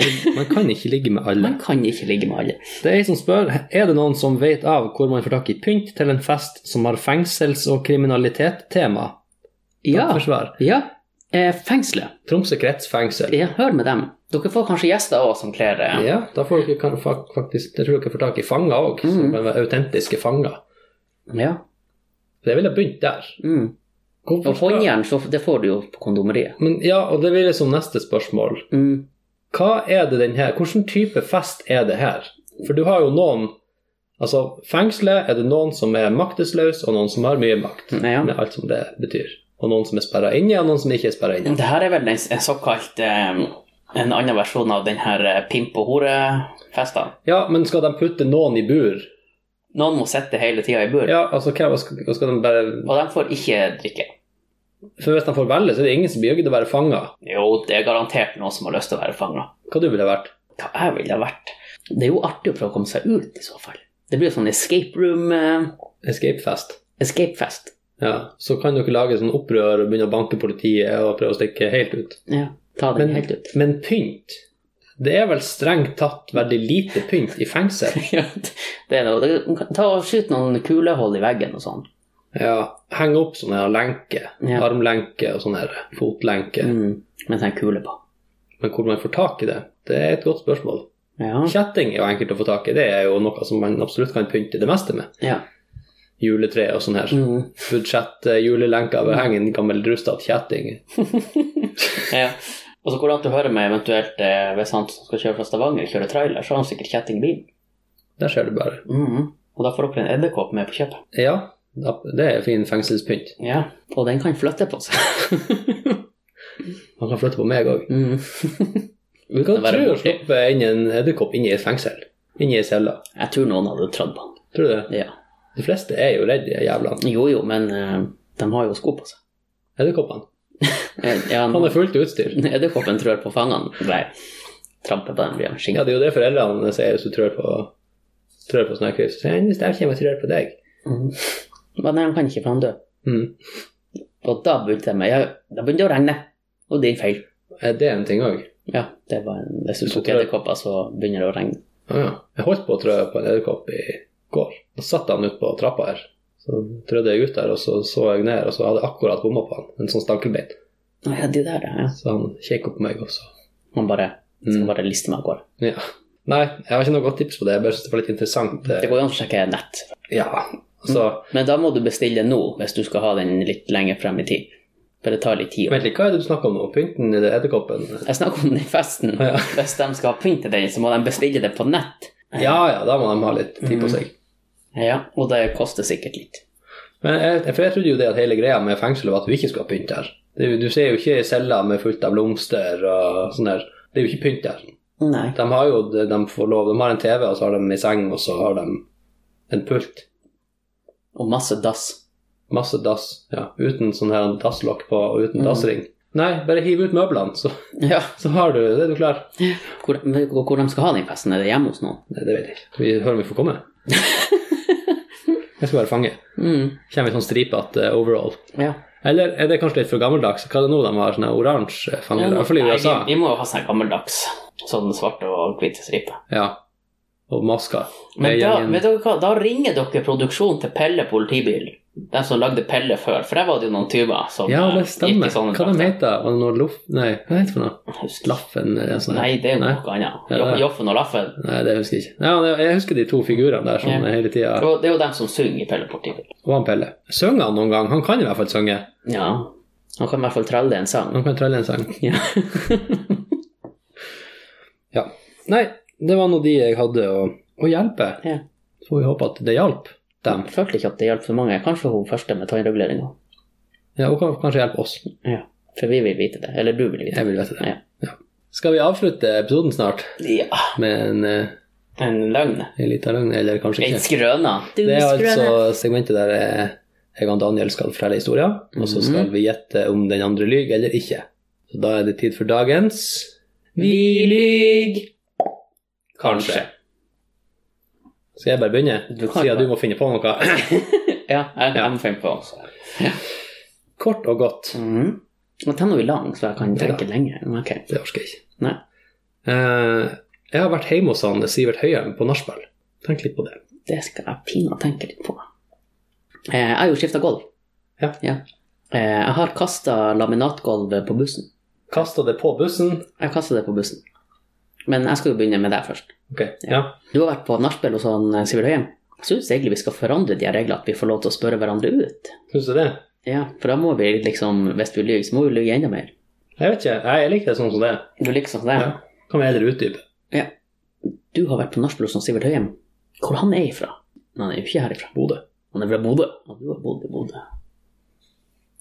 [SPEAKER 2] alle.
[SPEAKER 1] Man kan ikke ligge med alle.
[SPEAKER 2] Man kan ikke ligge med alle.
[SPEAKER 1] Det er ei som spør er det noen som vet av hvor man får tak i pynt til en fest som har fengsels- og kriminalitetstema.
[SPEAKER 2] Ja.
[SPEAKER 1] Takk for svar.
[SPEAKER 2] ja. Eh, fengselet.
[SPEAKER 1] Tromsø kretsfengsel.
[SPEAKER 2] Ja, hør med dem. Dere får kanskje gjester òg som kler eh,
[SPEAKER 1] Ja, da får dere kan- fak- faktisk Jeg tror dere får tak i fanger òg, som
[SPEAKER 2] Mhm.
[SPEAKER 1] er autentiske fanger.
[SPEAKER 2] ja.
[SPEAKER 1] Så jeg ville begynt der.
[SPEAKER 2] Mm.
[SPEAKER 1] Hvorfor
[SPEAKER 2] Og
[SPEAKER 1] skal-
[SPEAKER 2] håndjern, så det får du jo på kondomeriet.
[SPEAKER 1] Men ja, og det blir som neste spørsmål.
[SPEAKER 2] Mm.
[SPEAKER 1] Hva er det den her Hvilken type fest er det her? For du har jo noen Altså, fengselet er det noen som er maktesløs, og noen som har mye makt.
[SPEAKER 2] Ja.
[SPEAKER 1] Med alt som det betyr. og noen som er sperra inne, og noen som ikke er sperra inne.
[SPEAKER 2] Det her er vel en, en såkalt eh, En annen versjon av den her eh, pimp og hore-festene.
[SPEAKER 1] Ja, men skal de putte noen i bur?
[SPEAKER 2] Noen må sitte hele tida i bur,
[SPEAKER 1] Ja, altså hva skal, hva skal de bare
[SPEAKER 2] og de får ikke drikke.
[SPEAKER 1] For hvis de får velge, så er det ingen som blir gøy til å være fanga.
[SPEAKER 2] Jo, det er garantert noen som har lyst til å være fanga.
[SPEAKER 1] Hva du ville vært?
[SPEAKER 2] Hva jeg ville ha vært? Det er jo artig å prøve å komme seg ut, i så fall. Det blir jo sånn escape room eh,
[SPEAKER 1] Escapefest.
[SPEAKER 2] Escape fest.
[SPEAKER 1] Ja, så kan dere lage sånn opprør og begynne å banke politiet og prøve å stikke helt ut.
[SPEAKER 2] Ja, ta den
[SPEAKER 1] Men,
[SPEAKER 2] helt ut.
[SPEAKER 1] men pynt Det er vel strengt tatt veldig lite pynt i fengsel.
[SPEAKER 2] Ja, det er noe. Du kan Ta og Skyt noen kulehull i veggen og sånn.
[SPEAKER 1] Ja, henge opp sånne her lenker.
[SPEAKER 2] Ja.
[SPEAKER 1] Armlenker og sånne her fotlenker.
[SPEAKER 2] Mm, mens jeg kuler på.
[SPEAKER 1] Men hvor man får tak i det, det er et godt spørsmål.
[SPEAKER 2] Ja.
[SPEAKER 1] Kjetting er jo enkelt å få tak i, det er jo noe som man absolutt kan pynte det meste med.
[SPEAKER 2] ja.
[SPEAKER 1] Juletre og sånn her.
[SPEAKER 2] Mm.
[SPEAKER 1] Budsjett, eh, julelenker over hengen, gammel rustet kjetting.
[SPEAKER 2] ja. Og så går det an til å høre med eventuelt eh, hvis han som skal kjøre fra Stavanger, kjører trailer, så har han sikkert kjetting i bilen.
[SPEAKER 1] Der ser du bare.
[SPEAKER 2] Mm. Og da får dere en edderkopp med på kjøpet.
[SPEAKER 1] Ja, det er fin fengselspynt.
[SPEAKER 2] Ja. Og den kan flytte på seg.
[SPEAKER 1] Man kan flytte på meg òg.
[SPEAKER 2] mm.
[SPEAKER 1] Du kan
[SPEAKER 2] å være
[SPEAKER 1] tro å
[SPEAKER 2] borti.
[SPEAKER 1] slippe inn en edderkopp inn i et fengsel. Inn i ei celle.
[SPEAKER 2] Jeg tror noen hadde tradd på den.
[SPEAKER 1] Tror du det?
[SPEAKER 2] Ja.
[SPEAKER 1] De fleste er jo redd de jævlene.
[SPEAKER 2] Jo jo, men eh, de har jo sko på seg.
[SPEAKER 1] Edderkoppene.
[SPEAKER 2] Eh, Ja,
[SPEAKER 1] Han er fullt utstyr.
[SPEAKER 2] Edderkoppen trør på fangene. Nei, tramper på den blir han
[SPEAKER 1] Ja,
[SPEAKER 2] skinnet.
[SPEAKER 1] det er jo det foreldrene sier hvis du trør på, trør på snøkryss. Så jeg hvis jeg kommer og trør på deg.
[SPEAKER 2] Mm. Men nei, han kan ikke, for han dør.
[SPEAKER 1] Mm.
[SPEAKER 2] Og da begynte jeg med, ja, da begynte det å regne. Og det er en feil.
[SPEAKER 1] Er det en ting òg?
[SPEAKER 2] Ja, det var en, hvis du
[SPEAKER 1] Så
[SPEAKER 2] tok
[SPEAKER 1] tror jeg-
[SPEAKER 2] edderkopper, så begynner det å regne.
[SPEAKER 1] Ah, ja. Jeg holdt på å trø på en edderkopp i går. Da satt han ute på trappa her. Så trødde jeg ut der, og så så jeg ned, og så hadde jeg akkurat bomma på han. En sånn stankelbein.
[SPEAKER 2] Å Ja, de der, ja.
[SPEAKER 1] Så han kikka på meg også.
[SPEAKER 2] Man bare, skal
[SPEAKER 1] Mm.
[SPEAKER 2] bare liste meg av gårde.
[SPEAKER 1] Ja. Nei, jeg har ikke noe godt tips på det. Jeg bare synes det var litt interessant.
[SPEAKER 2] Det
[SPEAKER 1] eh,
[SPEAKER 2] går jo an å sjekke nett.
[SPEAKER 1] Ja, altså
[SPEAKER 2] Men da må du bestille nå, hvis du skal ha den litt lenger frem i tid. For det tar litt tid.
[SPEAKER 1] Vent litt, hva er det du snakker om nå? Pynten i det edderkoppen?
[SPEAKER 2] Jeg snakker om den festen.
[SPEAKER 1] Ja.
[SPEAKER 2] Hvis de skal ha pynt til den, så må de bestille det på nett.
[SPEAKER 1] Ja ja, da må de ha litt tid på seg.
[SPEAKER 2] Ja, og det koster sikkert litt.
[SPEAKER 1] Men jeg, for jeg trodde jo det at hele greia med fengselet var at du ikke skulle ha pynt her. Det, er jo- du ser jo ikke celler med fullt av blomster og sånn der. Det er jo ikke pynt der.
[SPEAKER 2] Nei.
[SPEAKER 1] De har jo det de får lov. De har en TV, og så har de en seng, og så har de en pult.
[SPEAKER 2] Og masse dass.
[SPEAKER 1] Masse dass. Ja, uten sånn her dasslokk på, og uten
[SPEAKER 2] Mhm.
[SPEAKER 1] dassring. Nei, bare hiv ut møblene, så,
[SPEAKER 2] Ja.
[SPEAKER 1] så har du det. Er du klar?
[SPEAKER 2] Hvor, men hvor de skal ha den festen? Er det hjemme hos noen?
[SPEAKER 1] Nei, det vet jeg ikke. Vi hører om vi får komme. Jeg skal være fange.
[SPEAKER 2] Mm.
[SPEAKER 1] Kommer i sånn stripete eh, overall.
[SPEAKER 2] Ja.
[SPEAKER 1] Eller er det kanskje litt for gammeldags? Hva er det nå de har sånn her oransje fange? I hvert fall i
[SPEAKER 2] Nei,
[SPEAKER 1] USA.
[SPEAKER 2] Vi, vi må jo ha sånn gammeldags. Sånn svarte og hvite striper.
[SPEAKER 1] Ja. Og masker.
[SPEAKER 2] Men
[SPEAKER 1] Det er
[SPEAKER 2] da,
[SPEAKER 1] gjengen-
[SPEAKER 2] vet dere hva? da ringer dere produksjonen til Pelle politibil. De som lagde Pelle før. For der var det jo noen tyver som
[SPEAKER 1] Ja, det
[SPEAKER 2] eh,
[SPEAKER 1] stemmer.
[SPEAKER 2] gikk i sånne
[SPEAKER 1] Hva de
[SPEAKER 2] drakter.
[SPEAKER 1] heter de? Lof... Nei, hva heter det for noe?
[SPEAKER 2] Jeg husker ikke.
[SPEAKER 1] Laffen? Eller sånn.
[SPEAKER 2] Nei, det er jo
[SPEAKER 1] Nei.
[SPEAKER 2] noe annet.
[SPEAKER 1] Ja, det er-
[SPEAKER 2] Jo- Joffen og Laffen.
[SPEAKER 1] Nei, det husker jeg ikke. Ja, det- jeg husker de to figurene der som
[SPEAKER 2] Ja.
[SPEAKER 1] hele tida
[SPEAKER 2] Og Det er jo dem som synger i Pelle politibil.
[SPEAKER 1] Og han Pelle. Synger han noen gang? Han kan i hvert fall synge.
[SPEAKER 2] Ja. Han kan i hvert fall tralle en sang.
[SPEAKER 1] Han kan trelle en sang.
[SPEAKER 2] Ja.
[SPEAKER 1] ja. Nei, det var nå de jeg hadde å, å hjelpe.
[SPEAKER 2] Ja.
[SPEAKER 1] Så får vi håpe at det hjalp dem.
[SPEAKER 2] Jeg følte ikke at det hjalp for mange. Kanskje hun første med tannreguleringa.
[SPEAKER 1] Ja, og kan- kanskje hjelpe oss.
[SPEAKER 2] Ja. For vi vil vite det. Eller du vil vite det.
[SPEAKER 1] Jeg vil vite det.
[SPEAKER 2] Ja.
[SPEAKER 1] Skal vi avslutte episoden snart
[SPEAKER 2] Ja.
[SPEAKER 1] med en, eh,
[SPEAKER 2] En løgn.
[SPEAKER 1] en liten løgn, eller kanskje
[SPEAKER 2] En
[SPEAKER 1] ikke?
[SPEAKER 2] skrøne. Du
[SPEAKER 1] Det er altså segmentet der eh, jeg og Daniel skal fortelle historier, og så skal
[SPEAKER 2] Mhm.
[SPEAKER 1] vi gjette om den andre lyver eller ikke. Så da er det tid for dagens Vi lyver! Kanskje. Skal jeg bare begynne?
[SPEAKER 2] Du kan
[SPEAKER 1] Siden
[SPEAKER 2] bare.
[SPEAKER 1] du må finne på noe.
[SPEAKER 2] Ja, jeg,
[SPEAKER 1] Ja.
[SPEAKER 2] jeg må finne på også.
[SPEAKER 1] Kort og godt.
[SPEAKER 2] Mhm. Men den er jo lang, så jeg kan tenke lenge. Men Ok.
[SPEAKER 1] Det orker jeg ikke.
[SPEAKER 2] Nei.
[SPEAKER 1] Eh, jeg har vært hjemme hos han Sivert Høyem på nachspiel. Tenk litt på det.
[SPEAKER 2] Det skal jeg pinadø tenke litt på. Eh, Jeg har jo skifta gulv.
[SPEAKER 1] Ja.
[SPEAKER 2] Eh, Jeg har kasta laminatgulvet på bussen.
[SPEAKER 1] Kasta det på bussen.
[SPEAKER 2] Jeg kasta det på bussen. Men jeg skal jo begynne med deg først.
[SPEAKER 1] Ok, ja.
[SPEAKER 2] Du har vært på nachspiel hos han eh, Sivert Høyem. Jeg syns egentlig vi skal forandre de her reglene, at vi får lov til å spørre hverandre ut.
[SPEAKER 1] Syns du det?
[SPEAKER 2] Ja, For da må vi liksom, hvis vi lyver, så må vi lyve enda mer.
[SPEAKER 1] Jeg vet ikke. Nei, Jeg liker det sånn som det er.
[SPEAKER 2] Du liker sånn det?
[SPEAKER 1] Ja. Kan vi heller utdype?
[SPEAKER 2] Du har vært på nachspiel hos han Sivert Høyem. Hvor han er ifra? Men Han er jo ikke herifra.
[SPEAKER 1] Bodø.
[SPEAKER 2] Han er fra Bodø. Og du har bodd i Bodø.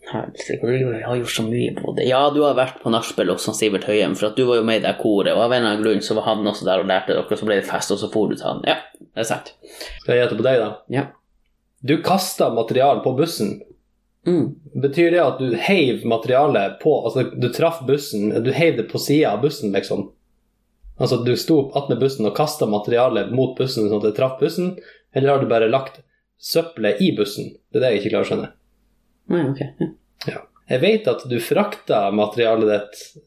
[SPEAKER 2] Helsike, du har gjort så mye på det. Ja, du har vært på nachspiel også, Sivert Høyem, for at du var jo med i det koret, og av en eller annen grunn så var han også der og lærte dere, og så ble det fest, og så for du til han. Ja, det er sant.
[SPEAKER 1] Skal jeg gjette på deg, da?
[SPEAKER 2] Ja.
[SPEAKER 1] Du kasta materiale på bussen.
[SPEAKER 2] Mm.
[SPEAKER 1] Betyr det at du heiv materialet på Altså, du traff bussen, du heiv det på sida av bussen, liksom? Altså, du sto opp attmed bussen og kasta materialet mot bussen sånn at det traff bussen, eller har du bare lagt søppelet i bussen? Det er det jeg ikke klarer å skjønne.
[SPEAKER 2] Nei, ok. Ja.
[SPEAKER 1] Jeg vet at du frakta materialet ditt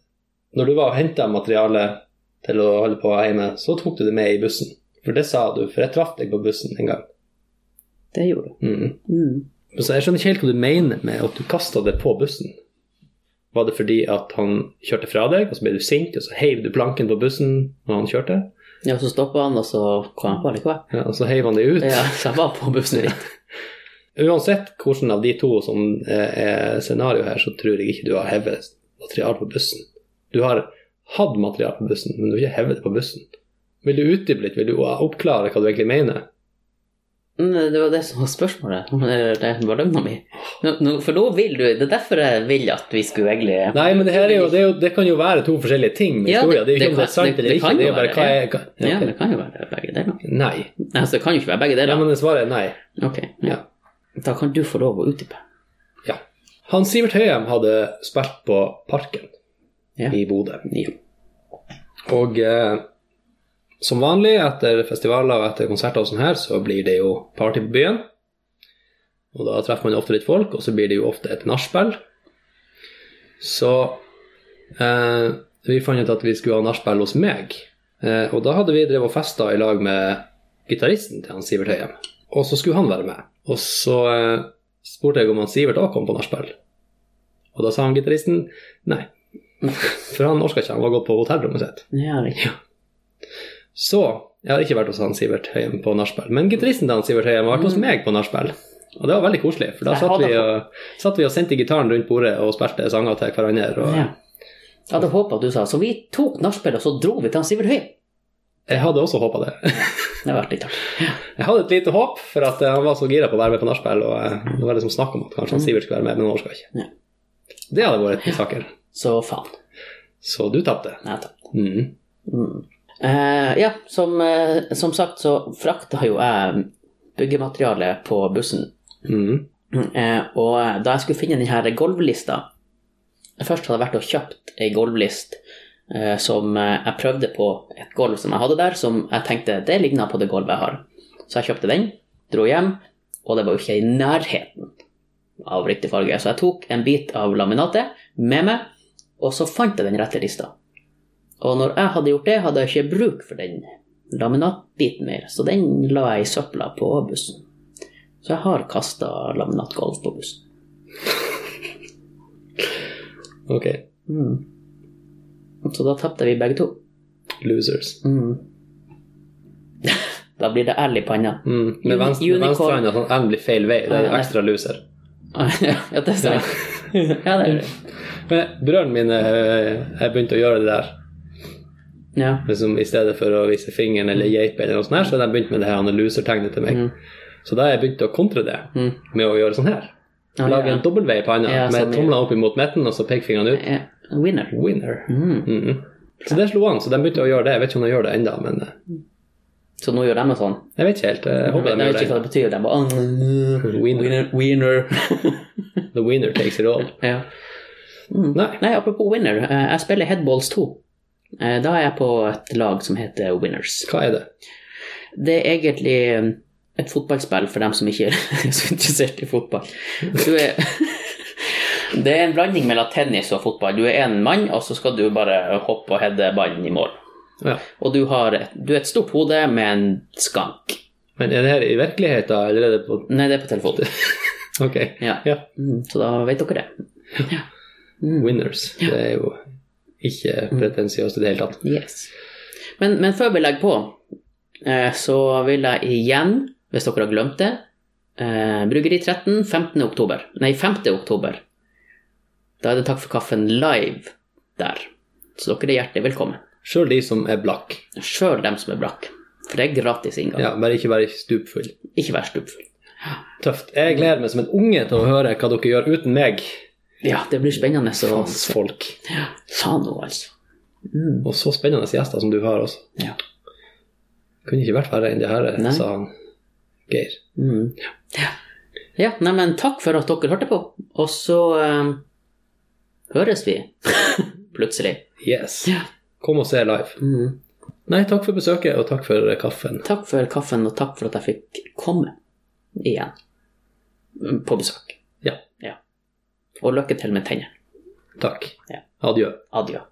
[SPEAKER 1] Når du var og henta materialet til å holde på hjemme, så tok du det med i bussen. For det sa du, for jeg traff deg på bussen en gang.
[SPEAKER 2] Det gjorde du.
[SPEAKER 1] Mm.
[SPEAKER 2] Mm.
[SPEAKER 1] Så jeg skjønner ikke helt hva du mener med at du kasta det på bussen. Var det fordi at han kjørte fra deg, og så ble du sint, og så heiv du planken på bussen når han kjørte?
[SPEAKER 2] Ja, så stoppa han, og så kom han på likevel.
[SPEAKER 1] Ja, og så heiv han deg ut?
[SPEAKER 2] Ja, så jeg var på bussen litt.
[SPEAKER 1] Uansett hvilken av de to som eh, er scenario her, så tror jeg ikke du har hevet materiale på bussen. Du har hatt materiale på bussen, men du har ikke hevet det på bussen. Vil du utdype litt? Vil du oppklare hva du egentlig mener?
[SPEAKER 2] Nei, Mm, Det var det som var spørsmålet. Det var løgna mi. Nå- nå- For nå vil du Det er derfor jeg vil at vi skulle egentlig
[SPEAKER 1] Nei, men det her er jo, det, er jo, det kan jo være to forskjellige ting med
[SPEAKER 2] Ja,
[SPEAKER 1] historien. Det er jo ikke
[SPEAKER 2] det-
[SPEAKER 1] om det er
[SPEAKER 2] det
[SPEAKER 1] sant
[SPEAKER 2] kan-
[SPEAKER 1] eller
[SPEAKER 2] det
[SPEAKER 1] ikke.
[SPEAKER 2] kan
[SPEAKER 1] Det er
[SPEAKER 2] jo
[SPEAKER 1] jo bare hva
[SPEAKER 2] være
[SPEAKER 1] jeg hva-
[SPEAKER 2] Ja, men det kan jo være begge deler.
[SPEAKER 1] Nei.
[SPEAKER 2] Nei, Altså, det kan jo ikke være begge deler.
[SPEAKER 1] Ja, men svaret er nei.
[SPEAKER 2] Ok. Ja. Da kan du få lov å utdype.
[SPEAKER 1] Ja. Han Sivert Høyem hadde spilt på Parken
[SPEAKER 2] Ja.
[SPEAKER 1] i Bodø.
[SPEAKER 2] Ja.
[SPEAKER 1] Og eh, som vanlig etter festivaler og etter konserter og sånn her, så blir det jo party på byen. Og da treffer man ofte litt folk, og så blir det jo ofte et nachspiel. Så eh, vi fant ut at vi skulle ha nachspiel hos meg. Eh, og da hadde vi drevet og festa i lag med gitaristen til han Sivert Høyem. Og så skulle han være med. Og så eh, spurte jeg om han Sivert òg kom på nachspiel. Og da sa han gitaristen nei. For han orka ikke, han var gått på hotellrommet sitt.
[SPEAKER 2] Ja, riktig.
[SPEAKER 1] Så jeg har ikke vært hos han Sivert Høyem på nachspiel, men gitaristen til han Sivert Høyem har vært hos meg på nachspiel. Og det var veldig koselig, for da
[SPEAKER 2] Mm. Jeg
[SPEAKER 1] satt
[SPEAKER 2] hadde
[SPEAKER 1] vi, og, satt vi og sendte gitaren rundt bordet og spilte sanger til hverandre. Og
[SPEAKER 2] Ja. Jeg hadde håpa at du sa Så vi tok nachspiel, og så dro vi til han Sivert Høy.
[SPEAKER 1] jeg hadde også håpa det.
[SPEAKER 2] Det har vært litt artig.
[SPEAKER 1] Jeg hadde et lite håp, for at eh, han var så gira på å være med på nachspiel, og eh, det var liksom snakk om at kanskje han Sivert skulle være med, men han orka
[SPEAKER 2] Mm. Ja.
[SPEAKER 1] ikke. Det hadde vært en saker.
[SPEAKER 2] Så faen.
[SPEAKER 1] Så du tapte.
[SPEAKER 2] Nei, takk.
[SPEAKER 1] Mm.
[SPEAKER 2] Mm. Eh, ja, som, eh, som sagt så frakta jo jeg byggemateriale på bussen.
[SPEAKER 1] Mm.
[SPEAKER 2] Eh, og da jeg skulle finne den her golvlista Først hadde jeg vært og kjøpt ei golvlist eh, som eh, jeg prøvde på et gulv som jeg hadde der, som jeg tenkte det ligna på det gulvet jeg har. Så jeg kjøpte den, dro hjem, og det var jo ikke i nærheten av riktig farge. Så jeg tok en bit av laminatet med meg, og så fant jeg den rette lista. Og når jeg hadde gjort det, hadde jeg ikke bruk for den laminatbiten mer, så den la jeg i søpla på bussen. Så jeg har kasta laminatgolv på bussen.
[SPEAKER 1] Ok.
[SPEAKER 2] Mm. Så da tapte vi begge to. Mm.
[SPEAKER 1] Losers.
[SPEAKER 2] Da blir det L i panna.
[SPEAKER 1] Mm. Med venstre, med
[SPEAKER 2] Unicorn.
[SPEAKER 1] venstre hånd, sånn M blir feil vei. Det er
[SPEAKER 2] Ja, nei.
[SPEAKER 1] ekstra loser.
[SPEAKER 2] ja, det sa jeg. ja, det er det.
[SPEAKER 1] Men brødrene mine eh, jeg begynte å gjøre det der.
[SPEAKER 2] Ja.
[SPEAKER 1] Liksom, I stedet for å vise fingeren eller geipe, eller noe sånt her, så har de begynt med det her han er loser-tegnet til meg.
[SPEAKER 2] Mm.
[SPEAKER 1] Så da har jeg begynt å kontre det
[SPEAKER 2] Mm.
[SPEAKER 1] med å gjøre sånn her.
[SPEAKER 2] Ja,
[SPEAKER 1] Lage
[SPEAKER 2] ja.
[SPEAKER 1] en W i panna
[SPEAKER 2] Ja,
[SPEAKER 1] med
[SPEAKER 2] sånn, ja.
[SPEAKER 1] tomlene opp imot midten og så pekefingrene ut.
[SPEAKER 2] Ja, Winner.
[SPEAKER 1] Winner.
[SPEAKER 2] Mm.
[SPEAKER 1] Mhm. Så det slo an, så de begynte å gjøre det. Jeg vet ikke om de gjør det ennå, men eh,
[SPEAKER 2] Så nå gjør de det sånn.
[SPEAKER 1] jeg vet ikke helt. Jeg håper de
[SPEAKER 2] vet
[SPEAKER 1] gjør det.
[SPEAKER 2] ikke hva det betyr. De bare
[SPEAKER 1] ennå. Winner.
[SPEAKER 2] Winner. winner.
[SPEAKER 1] The winner takes it all.
[SPEAKER 2] ja. mm.
[SPEAKER 1] Nei.
[SPEAKER 2] Nei, apropos winner. eh, Jeg spiller Headballs 2. Eh, Da er jeg på et lag som heter Winners.
[SPEAKER 1] Hva er det?
[SPEAKER 2] Det er egentlig um, et fotballspill for dem som ikke er så interessert i fotball. Du er det er en blanding mellom tennis og fotball. Du er en mann, og så skal du bare hoppe og heade ballen i mål.
[SPEAKER 1] Ja.
[SPEAKER 2] Og du har et, du er et stort hode med en skank.
[SPEAKER 1] Men er det her i virkeligheten, eller er det på
[SPEAKER 2] Nei, det er på telefonen.
[SPEAKER 1] Ok.
[SPEAKER 2] Ja.
[SPEAKER 1] Ja.
[SPEAKER 2] Mm, Så da vet dere det. Ja. Mm.
[SPEAKER 1] Winners. Det er jo ikke pretensiøst i det hele tatt.
[SPEAKER 2] Yes. Men, men før vi legger på, eh, så vil jeg igjen, hvis dere har glemt det, eh, Bryggeri 13 15. oktober. Nei, 5. oktober. Da er det Takk for kaffen live der. Så dere er hjertelig velkommen.
[SPEAKER 1] Sjøl de som er blakk.
[SPEAKER 2] Sjøl dem som er brakk. For det er gratis inngang.
[SPEAKER 1] Ja, bare ikke være stupfull.
[SPEAKER 2] Ikke vær stupfull.
[SPEAKER 1] Tøft. Jeg gleder meg som en unge til å høre hva dere gjør uten meg
[SPEAKER 2] Ja, det blir spennende. Så,
[SPEAKER 1] Faens folk.
[SPEAKER 2] ja, sa nå, altså. Mm.
[SPEAKER 1] Og så spennende gjester som du har også.
[SPEAKER 2] Ja.
[SPEAKER 1] Kunne ikke vært verre enn det her,
[SPEAKER 2] Nei.
[SPEAKER 1] sa han Geir.
[SPEAKER 2] Mm. Ja. ja, nei, men takk for at dere hørte på. Og så eh, høres vi plutselig.
[SPEAKER 1] Yes.
[SPEAKER 2] Ja.
[SPEAKER 1] Kom og se live.
[SPEAKER 2] Mm.
[SPEAKER 1] Nei, takk for besøket, og takk for kaffen.
[SPEAKER 2] Takk for kaffen, og takk for at jeg fikk komme igjen Mm, på besøk.
[SPEAKER 1] Ja.
[SPEAKER 2] Og lykke til med tennene.
[SPEAKER 1] Takk.
[SPEAKER 2] Ja.
[SPEAKER 1] Adjø.
[SPEAKER 2] Adjø.